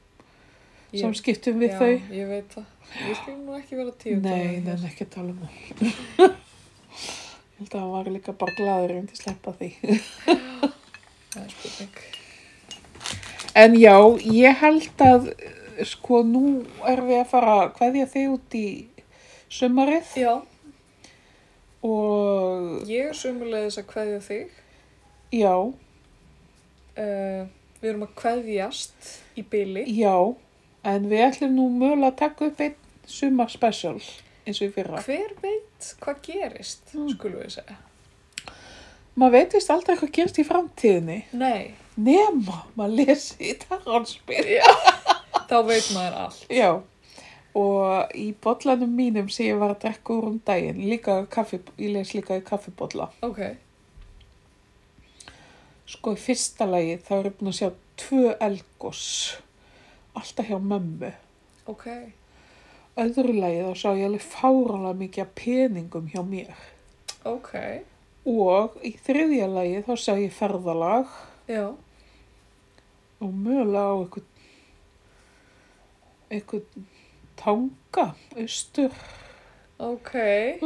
[SPEAKER 1] Ég-
[SPEAKER 2] samskiptum við
[SPEAKER 1] Já,
[SPEAKER 2] þau.
[SPEAKER 1] Ég veit það. Ég skil nú ekki vera tíu.
[SPEAKER 2] Nei, það er ekki að tala um það. Ég held að hann var líka bara glaður um til að sleppa því.
[SPEAKER 1] Það er spurning.
[SPEAKER 2] En já, ég held að, eh, sko, nú er við að fara að kveðja þig út í sumarið
[SPEAKER 1] Já,
[SPEAKER 2] og
[SPEAKER 1] ég er sumulegis að kveðja þig.
[SPEAKER 2] já,
[SPEAKER 1] uh, við erum að kveðjast í byli
[SPEAKER 2] Já, en við ætlum nú mögulega að taka upp einn sumar special eins og í fyrra.
[SPEAKER 1] hver veit hvað gerist
[SPEAKER 2] Hmm.
[SPEAKER 1] skulum við segja
[SPEAKER 2] Maður veit vist aldrei hvað gerst í framtíðinni.
[SPEAKER 1] nei,
[SPEAKER 2] Nema, maður lesi í tarranspil.
[SPEAKER 1] þá veit maður allt
[SPEAKER 2] Já, og í bollanum mínum sem ég var að drekka úr um daginn, líka kaffi, ég les líka í kaffibotla.
[SPEAKER 1] ok,
[SPEAKER 2] Sko í fyrsta lagi þá erum við búin að sjá tvö elgos alltaf hjá mömmu.
[SPEAKER 1] Ok.
[SPEAKER 2] Öðru lagi þá sá ég alveg fárálega mikið af peningum hjá mér.
[SPEAKER 1] Ok.
[SPEAKER 2] Og í þriðja lagi þá sá ég ferðalag
[SPEAKER 1] Já.
[SPEAKER 2] og mögulega á einhvern einhvern tanga, austurland.
[SPEAKER 1] Ok.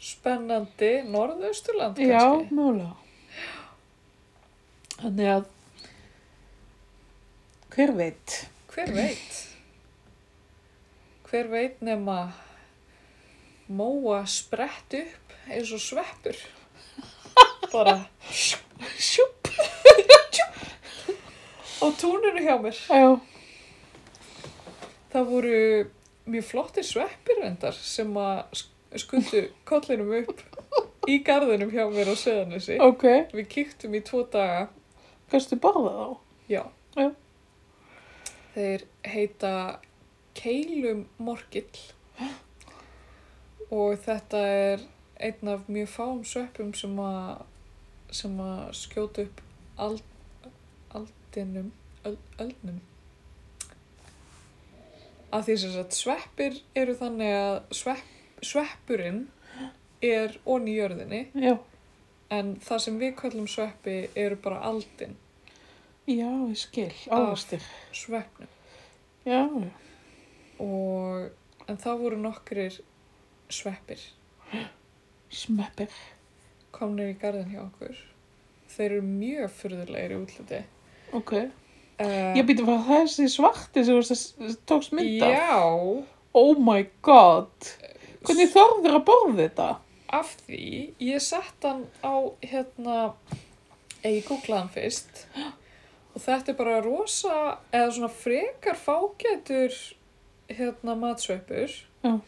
[SPEAKER 1] Spennandi. Norðausturland
[SPEAKER 2] Já,
[SPEAKER 1] kannski.
[SPEAKER 2] mögulega. Þannig að hver veit?
[SPEAKER 1] Hver veit? Hver veit nema móa sprett upp eins og sveppur. Bara
[SPEAKER 2] Sjúp!
[SPEAKER 1] á túninu hjá mér.
[SPEAKER 2] Já,
[SPEAKER 1] Það voru mjög flottir sveppir reyndar sem að sk- skundu kollinum upp í garðinum hjá mér á Söðanessi.
[SPEAKER 2] ok.
[SPEAKER 1] Við kíktum í tvo daga,
[SPEAKER 2] Kannstu borða þá?
[SPEAKER 1] já.
[SPEAKER 2] Já.
[SPEAKER 1] Þeir heita keilumorkill og þetta er einn af mjög fáum sveppum sem að, sem að skjóta upp ald, aldinum, öld, öldnum. Að því sem sagt sveppir eru þannig að svepp, sveppurinn er onni í jörðinni
[SPEAKER 2] Já.
[SPEAKER 1] en það sem við kallum sveppi eru bara aldin
[SPEAKER 2] Já, ég skil. Ávastir.
[SPEAKER 1] sveppnum.
[SPEAKER 2] Ah. Já,
[SPEAKER 1] og, en það voru nokkrir sveppir
[SPEAKER 2] smeppir.
[SPEAKER 1] komnir í garðin hjá okkur þeir eru mjög furðulegir í útliti
[SPEAKER 2] Ok.
[SPEAKER 1] uh,
[SPEAKER 2] Ég býti bara þessi svarti sem þú veist að tókst mynd af.
[SPEAKER 1] Eh, já,
[SPEAKER 2] Oh my god. Hvernig þorður að borða þetta?
[SPEAKER 1] af því ég sett hann á hérna eða ég googlaði hann fyrst og þetta er bara rosa eða svona frekar fágætur hérna matsveppur
[SPEAKER 2] Já.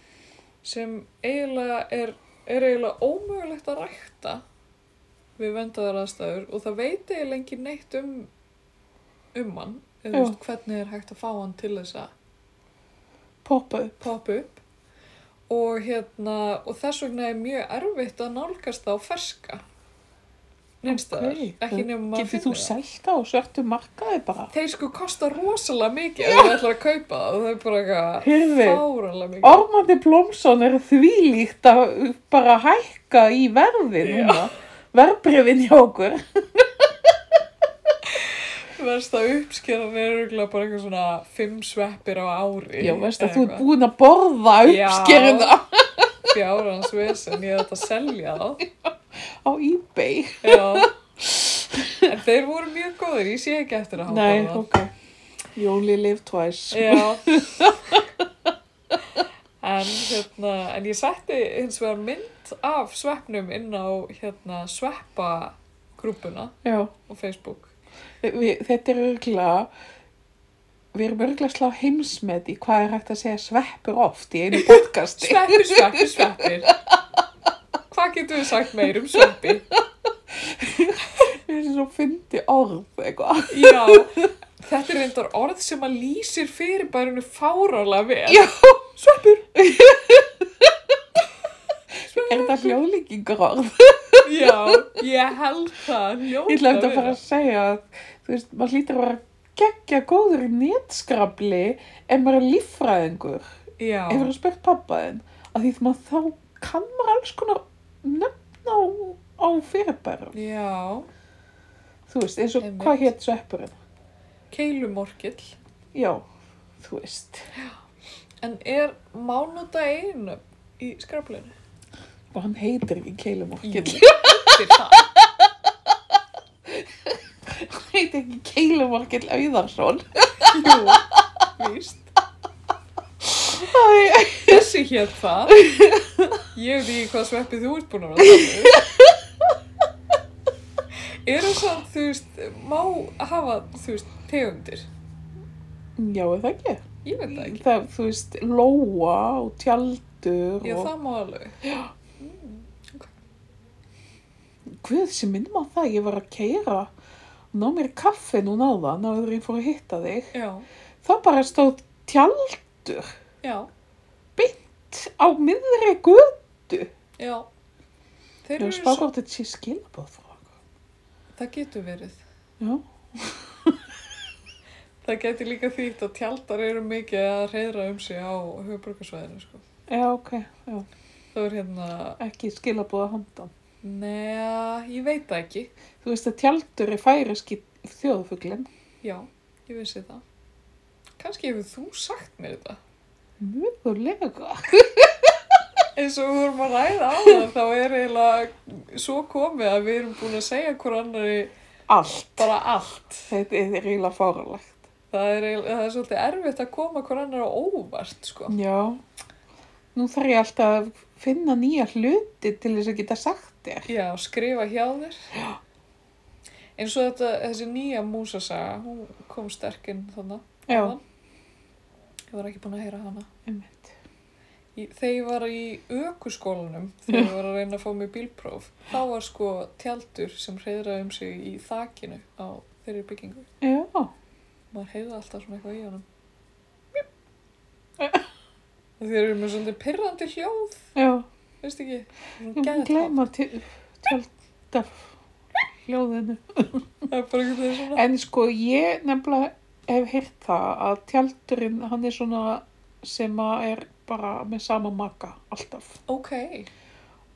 [SPEAKER 1] sem eiginlega er, er eiginlega ómögulegt að rækta við vendaðar aðstæður og það veit eiginlega engin neitt um um hann eða þú
[SPEAKER 2] Já.
[SPEAKER 1] veist hvernig er hægt að fá hann til þess að
[SPEAKER 2] Poppa upp.
[SPEAKER 1] poppa upp og hérna og þess vegna er mjög erfitt að nálgast þá ferska neinstæðar,
[SPEAKER 2] Ok.
[SPEAKER 1] ekki nefnum maður
[SPEAKER 2] Getur þú
[SPEAKER 1] finni það.
[SPEAKER 2] selt á svörtu markaði bara?
[SPEAKER 1] þeir sko kosta rosalega mikið ef þú ætlar að kaupa það og það er bara eitthvað
[SPEAKER 2] Heyrðu.
[SPEAKER 1] fáralega mikið
[SPEAKER 2] Ormandi Blómsson er þvílíkt að bara hækka í verði núna. Verbrefin hjá okkur.
[SPEAKER 1] verst að uppskeran er örugglega bara eitthvað svona fimm sveppir á ári
[SPEAKER 2] Já, veist að
[SPEAKER 1] eða
[SPEAKER 2] þú ert
[SPEAKER 1] eitthvað.
[SPEAKER 2] búin að borða
[SPEAKER 1] Já.
[SPEAKER 2] uppskerina
[SPEAKER 1] fjárans vesen, ég ætla að selja þá
[SPEAKER 2] á eBay.
[SPEAKER 1] já en þeir voru mjög góðir, ég sé ekki eftir að hafa
[SPEAKER 2] Nei,
[SPEAKER 1] borðað.
[SPEAKER 2] ok. You only live twice.
[SPEAKER 1] Já. en, hérna, en ég setti hins vegar mynd af sveppnum inn á hérna, sveppagrúpuna
[SPEAKER 2] Já.
[SPEAKER 1] og Facebook.
[SPEAKER 2] Við, þetta er örgulega, við erum örgulega að slá heimsmet í hvað er hægt að segja sveppur oft í einu podcasti.
[SPEAKER 1] Sveppi, sveppi, sveppir. Hvað getum við sagt meir um sveppi?
[SPEAKER 2] Við erum svo fyndi orð eitthvað.
[SPEAKER 1] Já, þetta er reyndar orð sem að lýsir fyrirbærinu fárálega vel.
[SPEAKER 2] Já.
[SPEAKER 1] Sveppur.
[SPEAKER 2] Er þetta hljóðlíkingur orð?
[SPEAKER 1] Já, ég held það. Ljóta
[SPEAKER 2] Ég ætla að
[SPEAKER 1] vera.
[SPEAKER 2] fara að segja að, þú veist, maður hlýtur að vera geggja góður í netskrabli en maður er líffræðingur.
[SPEAKER 1] Já.
[SPEAKER 2] Hefur þú spurt pappa þinn? Að því því maður þá kann maður alls konar nöfn á, á fyrirbærum.
[SPEAKER 1] Já,
[SPEAKER 2] Þú veist, eins og
[SPEAKER 1] Einmitt.
[SPEAKER 2] hvað hétt sveppurinn?
[SPEAKER 1] keilumorkill.
[SPEAKER 2] Já, þú veist.
[SPEAKER 1] En er mánúta einu í skraflinu?
[SPEAKER 2] Og hann heitir ekki keilumorkill.
[SPEAKER 1] Fyrir það.
[SPEAKER 2] Hann heitir ekki keilumorkill Auðarsson.
[SPEAKER 1] Jú, víst.
[SPEAKER 2] Æ,
[SPEAKER 1] Þessi hér það. Ég veit ekki hvað sveppi þú ert búin að vera að tala um. Er það samt, þú veist, má hafa, þú veist, tegundir?
[SPEAKER 2] Já, er það ekki.
[SPEAKER 1] Ég veit það ekki.
[SPEAKER 2] Það, þú veist, lóa og tjaldur
[SPEAKER 1] Já,
[SPEAKER 2] og...
[SPEAKER 1] það má alveg.
[SPEAKER 2] Guð sem minnum á það, ég var að keira ná mér kaffi núna á það, náður ég fór að hitta þig.
[SPEAKER 1] Já,
[SPEAKER 2] Þá bara stóð tjaldur
[SPEAKER 1] já,
[SPEAKER 2] á miðri guð.
[SPEAKER 1] já. Þeir
[SPEAKER 2] Ég
[SPEAKER 1] eru
[SPEAKER 2] spáði
[SPEAKER 1] svo,
[SPEAKER 2] hvort þetta sé skilabóð frá okkur.
[SPEAKER 1] Það getur verið.
[SPEAKER 2] Já.
[SPEAKER 1] Það getur líka þýtt að tjaldar eru mikið að reyðra um sig á höfuborgarsvæðinu, sko.
[SPEAKER 2] Já, ok, já.
[SPEAKER 1] Það er hérna,
[SPEAKER 2] Ekki skilabóða handan.
[SPEAKER 1] neða, ég veit það ekki.
[SPEAKER 2] Þú veist að tjaldur er færiski þjóðfuglinn.
[SPEAKER 1] Já, ég vissi það. Kanski hefur þú sagt mér þetta.
[SPEAKER 2] Mögulega.
[SPEAKER 1] Eins og við vorum að ræða á það, þá er eiginlega svo komið að við erum búin að segja hver annari
[SPEAKER 2] Allt.
[SPEAKER 1] bara allt.
[SPEAKER 2] Þetta er eiginlega fáralegt.
[SPEAKER 1] Það er, eiginlega- það er svolítið erfitt að koma hver annari á óvart, sko.
[SPEAKER 2] Já. Nú þarf ég alltaf að finna nýja hluti til þess að geta sagt þér.
[SPEAKER 1] Já, skrifa hjá þér. Já. Eins og þetta, þessi nýja músasaga, hún kom sterk inn þannig.
[SPEAKER 2] Já.
[SPEAKER 1] Ég var ekki búin að heyra hana.
[SPEAKER 2] Einmitt.
[SPEAKER 1] Í, þegar ég var í ökuskólanum, þegar ég var að reyna að fá mér bílpróf, þá var sko tjaldur sem hreyðraði um sig í þakinu á þeirri byggingu.
[SPEAKER 2] Já.
[SPEAKER 1] Maður heyrði alltaf svona eitthvað í honum. Þeir eru með svolítið pirrandi hljóð,
[SPEAKER 2] Já.
[SPEAKER 1] veist ekki?
[SPEAKER 2] Ég
[SPEAKER 1] Svona
[SPEAKER 2] mun
[SPEAKER 1] geðtátt.
[SPEAKER 2] gleyma tjaldar hljóðinu.
[SPEAKER 1] Það er bara eitthvað svona.
[SPEAKER 2] En sko, ég nefnilega hef heyrt það að tjaldurinn, hann er svona sem að er bara með sama maka alltaf.
[SPEAKER 1] Ok,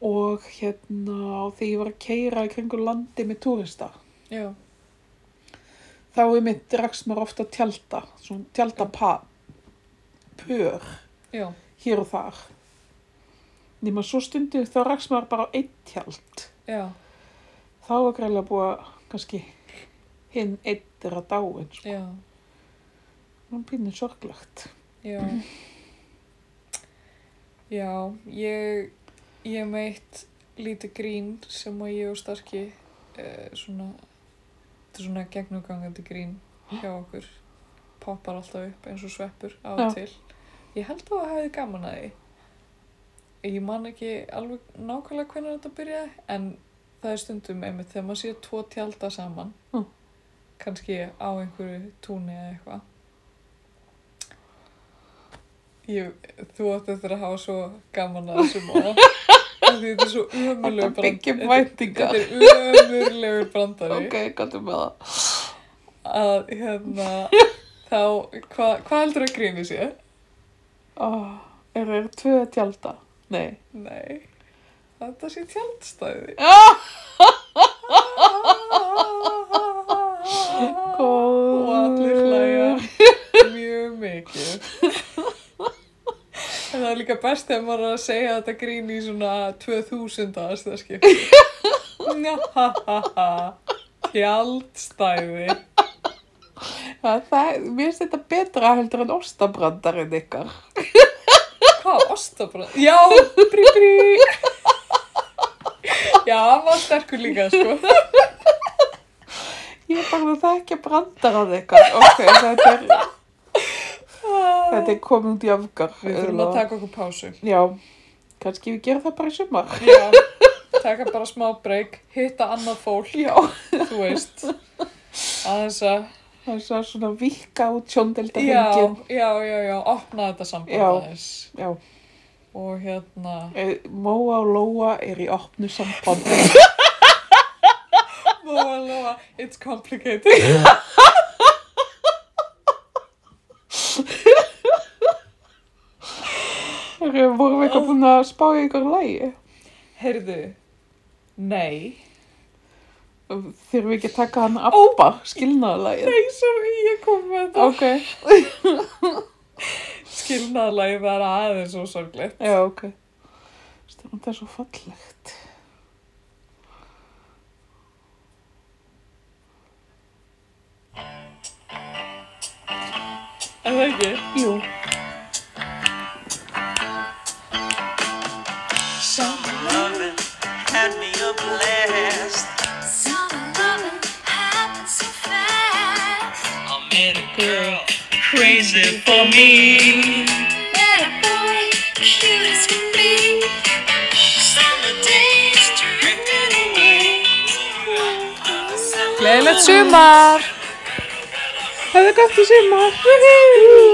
[SPEAKER 2] Og hérna, þegar ég var að keira í kringu landi með túrista,
[SPEAKER 1] já,
[SPEAKER 2] þá er mitt draks mér ofta tjálta, svona tjálta pör
[SPEAKER 1] já,
[SPEAKER 2] hér og þar. Nýma svo stundu þá raks maður bara á einn tjald.
[SPEAKER 1] já.
[SPEAKER 2] Þá var greiðlega búið að kannski hinn einn er að dáin. Sko.
[SPEAKER 1] Já,
[SPEAKER 2] Það býnir sorglagt.
[SPEAKER 1] já. Já, ég, ég meitt lítið grín sem að ég og Starki eh, svona, þetta er svona gegnugangandi grín hjá okkur, poppar alltaf upp eins og sveppur á og
[SPEAKER 2] Já.
[SPEAKER 1] til. Ég held að það hefði gaman að því. Ég man ekki alveg nákvæmlega hvernig þetta byrjaði, en það er stundum einmitt þegar maður sé tvo tjálta saman,
[SPEAKER 2] Mm.
[SPEAKER 1] kannski á einhverju túni eða eitthvað. Ég, þú átt eftir að hafa svo gaman að þessum orða. Því þetta er svo umurlegur
[SPEAKER 2] Þetta byggir
[SPEAKER 1] brandari.
[SPEAKER 2] væntingar.
[SPEAKER 1] Þetta er umurlegur brandari.
[SPEAKER 2] Ok, gætu með það.
[SPEAKER 1] Að hérna, þá, hvað hva heldur að gríni sé?
[SPEAKER 2] Oh, er það tvö tjálta? Nei.
[SPEAKER 1] Nei, þetta sé tjaldstæði.
[SPEAKER 2] Ah, Góður.
[SPEAKER 1] Og allir hlæja mjög mikið. En það er líka best þegar maður er að segja þetta grín í svona 2000 aðast það skipti. Tjaldstæði.
[SPEAKER 2] Það, það, mér finnst þetta betra heldur en ostabrandarinn ykkar.
[SPEAKER 1] Hvað, ostabröð? Já, brí brí. Já, hann var sterkur líka, sko.
[SPEAKER 2] Ég er bara að það ekki brandarað ykkar. Ok, þetta er... Þetta er komin út í afgar.
[SPEAKER 1] Við þurfum að taka okkur pásu.
[SPEAKER 2] Já, kannski við gerum það bara í sumar.
[SPEAKER 1] Já, taka bara smá breyk, hitta annað fólk,
[SPEAKER 2] Já.
[SPEAKER 1] þú veist. Aðeins að,
[SPEAKER 2] Það er svo svona vika út sjóndelda
[SPEAKER 1] já, já, já, já, opna þetta samband
[SPEAKER 2] Já.
[SPEAKER 1] aðeins.
[SPEAKER 2] Já.
[SPEAKER 1] Og hérna,
[SPEAKER 2] Eh, Móa og Lóa er í opnu sambandi.
[SPEAKER 1] Móa Lóa, it's complicated.
[SPEAKER 2] Þeir vorum við eitthvað búin að spá í ykkur lægi.
[SPEAKER 1] Heyrðu, nei.
[SPEAKER 2] Þurfum við ekki að taka hann appa, skilnaðalægið.
[SPEAKER 1] Nei, sorry, ég kom með þetta.
[SPEAKER 2] Ok,
[SPEAKER 1] Skilnaðalagi það er aðeins og sorglegt.
[SPEAKER 2] já, ok. Stefán, það er svo fallegt.
[SPEAKER 1] En það ekki.
[SPEAKER 2] Jú,
[SPEAKER 5] Summer loving had me a blast.
[SPEAKER 6] Summer loving happened so fast.
[SPEAKER 5] I met a girl crazy for me.
[SPEAKER 6] Met a boy, cute as can be. Summer days drifted away.
[SPEAKER 1] Gleðilegt sumar!
[SPEAKER 2] það er gott í sumar. Hú hú.